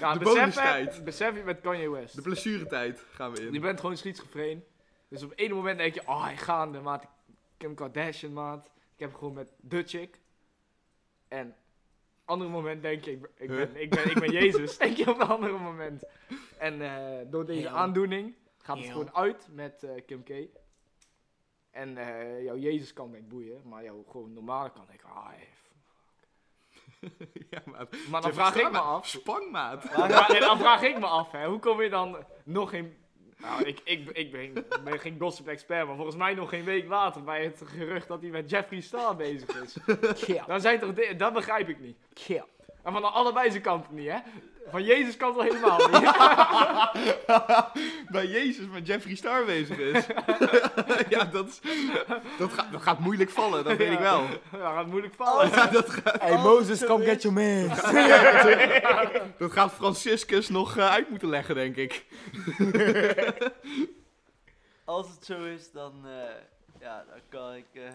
B: Ja,
A: De
B: besef,
A: bonustijd.
B: hè, besef je met Kanye West.
A: [laughs] De blessuretijd gaan we in.
B: Je bent gewoon schizofreen. Dus op één moment denk je, oh, hij gaande, maat. Ik heb een Kardashian, maat. Ik heb gewoon met de chick. En andere moment denk je, ik ben, ik ben,
A: Huh?
B: ik ben, ik ben Jezus. [laughs] denk je op een andere moment. En eh, door deze
C: Heel.
B: aandoening gaat het
C: Heel.
B: gewoon uit met eh, Kim K. En eh, jouw Jezus kan denk ik boeien, maar jouw gewoon normale kan denk ik, ah, eh,
A: [laughs] ja, maat.
B: Maar dan
A: Jeff,
B: vraag ik
A: sta
B: me
A: maar.
B: af,
A: Spang, maat.
B: maar, en dan vraag ik me af, hè, hoe kom je dan nog geen. Nou, ik, ik, ik ben, ben geen gossip-expert, maar volgens mij nog geen week later bij het gerucht dat hij met Jeffree Star bezig is. Dan zijn toch dingen, dat begrijp ik niet. En van de allebei zijn kant niet, hè? Van Jezus kant al helemaal
A: [laughs]
B: niet.
A: Bij Jezus met Jeffree Star bezig is. ja, dat, is, dat, gaat, dat gaat moeilijk vallen, dat weet ik wel.
B: [laughs]
A: Oh,
B: Ja, gaat moeilijk vallen.
E: Hey Moses, come get your
A: [laughs]
E: man.
A: Dat gaat Franciscus nog eh, uit moeten leggen, denk ik.
D: Als het zo is, dan, eh, ja, dan kan ik eh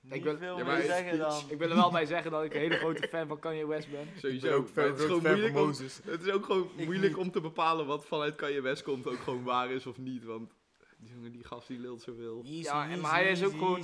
D: niet
B: ben-
D: veel
A: Ja, maar
D: meer
A: hij is
D: zeggen dan...
B: Ik wil er wel bij zeggen dat ik een hele grote fan van Kanye West ben.
A: Sowieso. maar het, is gewoon moeilijk om, het is ook gewoon
D: Ik
A: moeilijk
D: niet.
A: om te bepalen wat vanuit Kanye West komt ook gewoon waar is of niet. Want die jongen, die gast, die lult zoveel.
B: Ja, en- maar hij is ook gewoon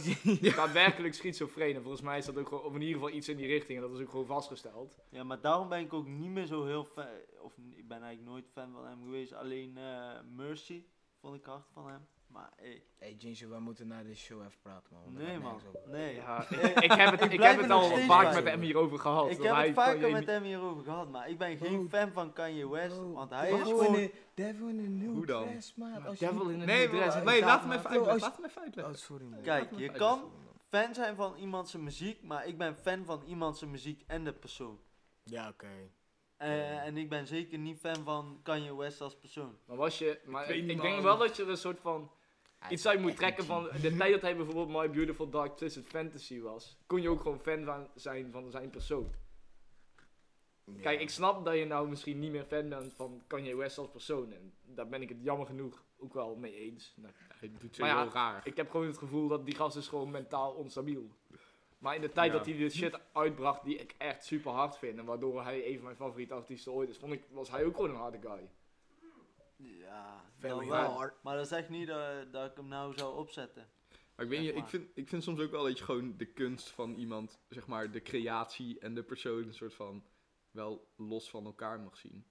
B: daadwerkelijk schizofreen. En volgens mij is dat ook gewoon, of in ieder geval iets in die richting. En dat is ook gewoon vastgesteld.
D: Ja, maar daarom ben ik ook niet meer zo heel fan... Of n- ik ben eigenlijk nooit fan van hem geweest. Alleen eh, Mercy vond ik hard van hem. Maar eh,
C: Hey Ginger, we moeten naar de show even praten, man. want daar
D: nee
C: gaat
D: man,
C: Oh, nergens over.
D: nee. [laughs]
B: Ja,
D: Eh,
B: ik heb het,
D: ik
B: ik
D: blijf
B: heb het
D: er nog
B: al
D: steeds
B: vaak
D: bij.
B: met hem hierover gehad.
D: ik
B: dat
D: heb
B: hij
D: het vaker
B: Kanye
D: met
B: niet-
D: hem hierover gehad, maar ik ben geen
C: Oh.
D: fan van Kanye West, want hij is
C: Devil in
D: gewoon...
C: a- Devil in a new
A: Hoe dan?
C: dress, maat.
B: Maar
C: Als je
B: Devil
C: niet-
B: in a
A: Nee,
B: new dress.
A: maar-
B: en
A: nee,
B: daar-
A: laat hem even
C: Oh,
A: uitleggen.
C: als-
A: Laat hem even uitleggen.
C: Oh, sorry man.
D: Kijk,
A: Laat
D: je
A: me-
D: kan fan zijn van iemand zijn muziek, maar ik ben fan van iemand zijn muziek en de persoon.
C: Ja, oké.
D: Eh, En ik ben zeker niet fan van Kanye West als persoon.
B: Maar was je, maar
A: weet
B: ik,
A: niet,
B: ik denk
A: man.
B: wel dat je er een soort van
C: Hij
B: iets
C: is
B: uit moet
C: echt
B: trekken
C: een
B: van de tijd dat hij bijvoorbeeld My Beautiful Dark Twisted Fantasy was. Kon je ook gewoon fan van zijn van zijn persoon.
C: G.
B: Kijk,
C: Ja.
B: ik snap dat je nou misschien niet meer fan bent van Kanye West als persoon. En daar ben ik het jammer genoeg ook wel mee eens. Nou,
A: Hij doet zo
B: Maar ja,
A: heel raar.
B: Ik heb gewoon het gevoel dat die gast is gewoon mentaal onstabiel. Maar in de tijd
A: Ja.
B: dat hij dit shit uitbracht die ik echt super hard vind. En waardoor hij een van mijn favoriete artiesten ooit is. Vond ik, was hij ook gewoon een harde guy.
D: Ja,
C: Very
D: dan wel.
C: hard.
D: Maar dat zegt niet dat, dat ik hem nou zou opzetten.
A: Maar ik weet
D: Zeg
A: niet, ik
D: maar.
A: vind, ik vind soms ook wel dat je gewoon de kunst van iemand, zeg maar, de creatie en de persoon een soort van wel los van elkaar mag zien.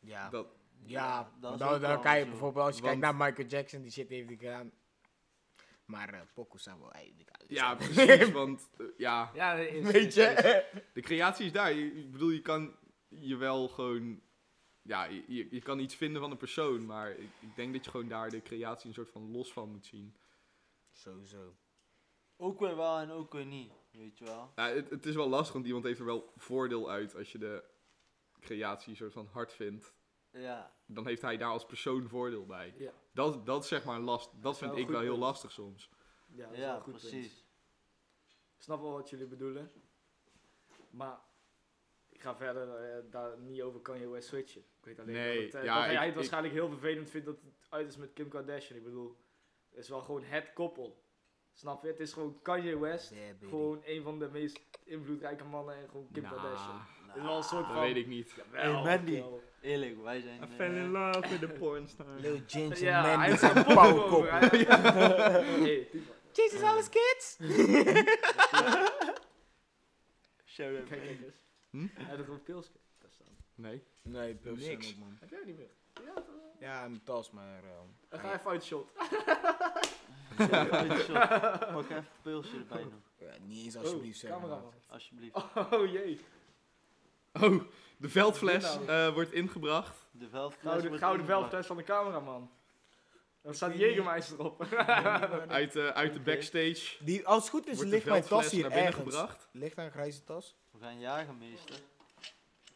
C: Ja,
A: Dat,
D: Ja,
E: Ja,
D: dat
E: want
D: is
E: dan,
D: ook wel
E: dan kan je
D: zo.
E: bijvoorbeeld als je
A: Want-
E: kijkt naar Michael Jackson, die shit heeft hij gedaan. Maar eh Poco zou wel eigenlijk...
C: [laughs]
A: ja, precies, want eh, ja,
B: Ja, is,
E: [laughs] Weet je? [laughs]
A: de creatie is daar. Je- Ik bedoel, je kan je wel gewoon, ja, je, je- je kan iets vinden van een persoon, maar ik, ik denk dat je gewoon daar de creatie een soort van los van moet zien.
C: sowieso.
D: Ook weer wel en ook weer niet, weet je wel.
A: Ja, het, het is wel lastig, want iemand heeft er wel voordeel uit als je de creatie een soort van hard vindt.
D: Ja,
A: Dan heeft hij daar als persoon voordeel bij.
B: Ja.
A: Dat, dat is zeg maar last. Dat vind
B: wel
A: ik
B: een
A: wel
B: goed
A: heel
B: punt.
A: lastig soms.
B: Ja, dat is wel
D: ja
B: een goed
D: precies.
B: punt. Ik snap wel wat jullie bedoelen. Maar ik ga verder eh, daar niet over Kanye West switchen. Ik weet alleen
A: Nee,
B: dat, het, eh,
A: ja,
B: dat hij
A: ik-
B: het
A: ik-
B: waarschijnlijk heel vervelend vindt dat het uit is met Kim Kardashian. Ik bedoel, het is wel gewoon het koppel. Snap je? Het is gewoon Kanye West.
C: Yeah, baby.
B: Gewoon een van de meest invloedrijke mannen en gewoon Kim
A: Nou,
B: Kardashian.
D: Nou,
B: Het is wel een soort
A: Dat
B: van...
A: weet ik niet.
B: Jawel,
D: Hey, Mandy.
B: jawel.
D: Eerlijk, wij zijn... eh,
A: love with the pornstar.
C: Lil Ginger,
B: Ja,
C: man,
B: hij
C: die [laughs]
B: heeft
C: zijn
B: een
C: pauwkop.
B: powerkop. [laughs] Hey, Tifa.
E: Jesus, alles kids!
D: shout-out.
B: Kijk, kijk eens.
A: Hm?
C: Hm?
B: Hij heeft een pilsje. Dat plus staan.
A: Nee.
C: Nee, plus
B: Niks.
C: niks. Man.
B: Heb jij niet meer? Ja, toch wel.
C: Ja, mijn tas, maar... eh,
B: Dan ga even uit de shot. [laughs]
D: Pak even een pilsje erbij nog,
C: ja, eh, niet eens alsjeblieft zeggen.
B: camera.
C: [laughs] maar-
D: alsjeblieft.
B: [laughs] Oh jee.
A: Oh, de veldfles
B: Wat is dit
A: eh, wordt ingebracht.
D: De veldfles
B: Gouden,
D: wordt
B: gouden
D: ingebracht.
B: belftest van de cameraman. Dan staat
C: weet niet.
B: Jägermeister op. [laughs]
A: Uit, eh, uit de
D: Oké.
A: backstage
C: Die, als het goed is,
A: wordt de
C: ligt mijn tas
A: veldfles
C: hier
A: naar binnen
C: ergens.
A: gebracht.
C: Ligt daar een grijze tas?
D: We gaan jagen, meester.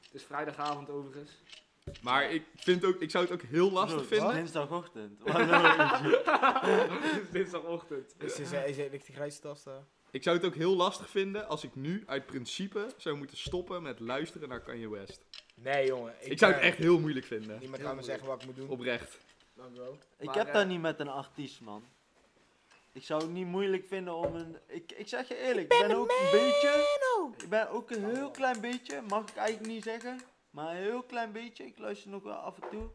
B: Het is vrijdagavond overigens. [laughs]
A: Maar ik, vind ook, ik zou het ook heel lastig
D: Zo,
A: vinden.
D: Het is dinsdagochtend. [laughs]
B: [laughs]
D: Wat wil je?
B: Het is dinsdagochtend.
C: Is, [laughs] is, is, is, ligt die grijze tas daar?
A: Ik zou het ook heel lastig vinden als ik nu uit principe zou moeten stoppen met luisteren naar Kanye West.
C: Nee, jongen.
A: Ik, zou
C: eh,
A: het echt heel moeilijk vinden.
C: Niemand kan me zeggen wat ik moet doen.
A: Oprecht.
C: Dank u wel.
D: Ik
B: Maar,
D: heb
B: eh,
D: dat niet met een artiest, man. Ik zou het niet moeilijk vinden om een... Ik, ik zeg je eerlijk, ik ben, ook een beetje... Ik ben ook een heel klein beetje, mag ik eigenlijk niet zeggen. Maar een heel klein beetje. Ik luister nog wel af en toe.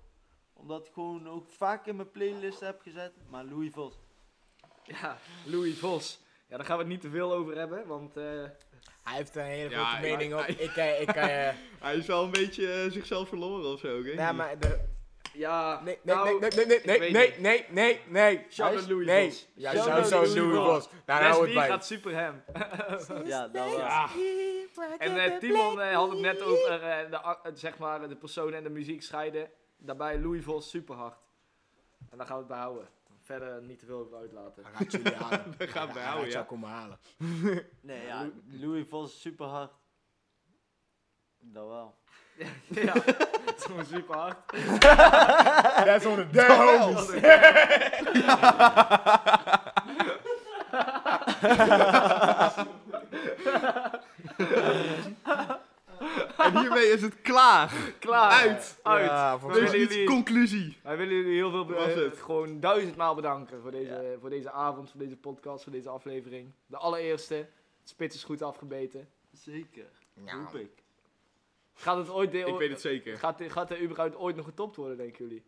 D: Omdat ik gewoon ook vaak in mijn playlist heb gezet. Maar Louis Vos.
B: Ja, Louis Vos. Ja, daar gaan we het niet te veel over hebben, want... eh,
C: Hij heeft een hele
A: Ja,
C: grote
A: ik-
C: mening op.
A: ik-
C: Ik, eh, ik, eh,
A: Hij is wel een beetje eh, zichzelf verloren of zo. Ik weet
C: nou,
A: niet. [laughs]
C: maar de-
B: ja,
C: nee, nee,
B: nou,
C: nee, nee, nee, nee,
B: weet
C: nee,
B: niet.
C: nee, nee, nee.
B: Shout
D: Hij
B: out
D: is-
B: Louis
C: Nee.
B: Vos.
C: Ja,
D: Shout
C: zou
D: out
C: zo
D: Louis
C: Louis
B: Vos.
C: Vos. Nou, Daar hou het
B: Leslie
C: bij.
B: gaat super hem.
C: [laughs]
D: Ja, dat was
B: Ja. En eh, Timon eh, had het net over eh, de, a- eh, zeg maar, de persoon en de muziek scheiden. Daarbij Louis Vos super hard. En daar gaan we het bij houden. Verder niet te veel over uitlaten.
C: Hij gaat jullie halen.
A: Hij gaat mij
C: Hij
A: houden,
C: gaat jou
A: ja.
C: komen halen.
D: Nee, ja. Louis Vos is super hard. Dat wel.
B: [laughs] ja, het is gewoon super
A: [laughs]
B: hard.
C: That's on the
A: Oh,
C: dead homies.
A: En hiermee is het klaar.
B: Klaar.
A: Uit.
B: Uit.
C: Ja, voor
A: Dus
B: willen
A: niet
B: jullie-
A: conclusie.
B: Wij willen jullie heel veel
A: Dat was
B: eh,
A: het.
B: gewoon duizendmaal bedanken voor deze, voor deze avond, voor deze podcast, voor deze aflevering. De allereerste. Het spits is goed afgebeten.
D: Zeker.
C: Nou.
D: Hoop ik.
B: Gaat het ooit...
A: Ik weet het zeker.
B: Gaat, dit- gaat er überhaupt ooit nog getopt worden, denken jullie?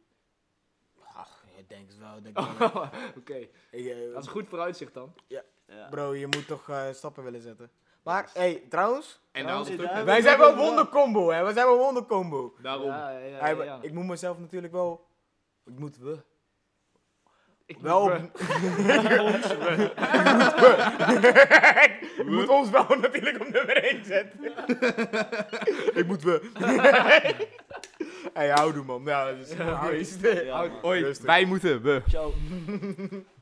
C: Ach, ik denk het wel. ik [laughs] Denk het wel.
B: [laughs] Oké,
C: Ik, eh,
B: dat is een goed vooruitzicht dan.
D: Ja.
C: Bro, je moet toch eh, stappen willen zetten. Maar, hey, trouwens.
A: En daar had het ook.
C: Wij zijn wel wondercombo, hè. Wij zijn wel wondercombo.
A: Daarom.
B: Ja, ja, ja,
C: Hey,
B: ja,
C: maar
B: ja.
C: Ik moet mezelf natuurlijk wel... Ik moet we.
B: Ik
C: Wel op...
B: moet-
C: [laughs] Ik moet we. Ik moet ons wel [laughs] natuurlijk op nummer 1 zetten. [laughs] Ik moet we. Hé, [laughs] hey, houdoe man. Nou, dat is...
B: Ja,
C: Houdoe.
D: Ja, man.
A: Oei,
C: Rustig.
A: wij moeten, we.
B: Ciao.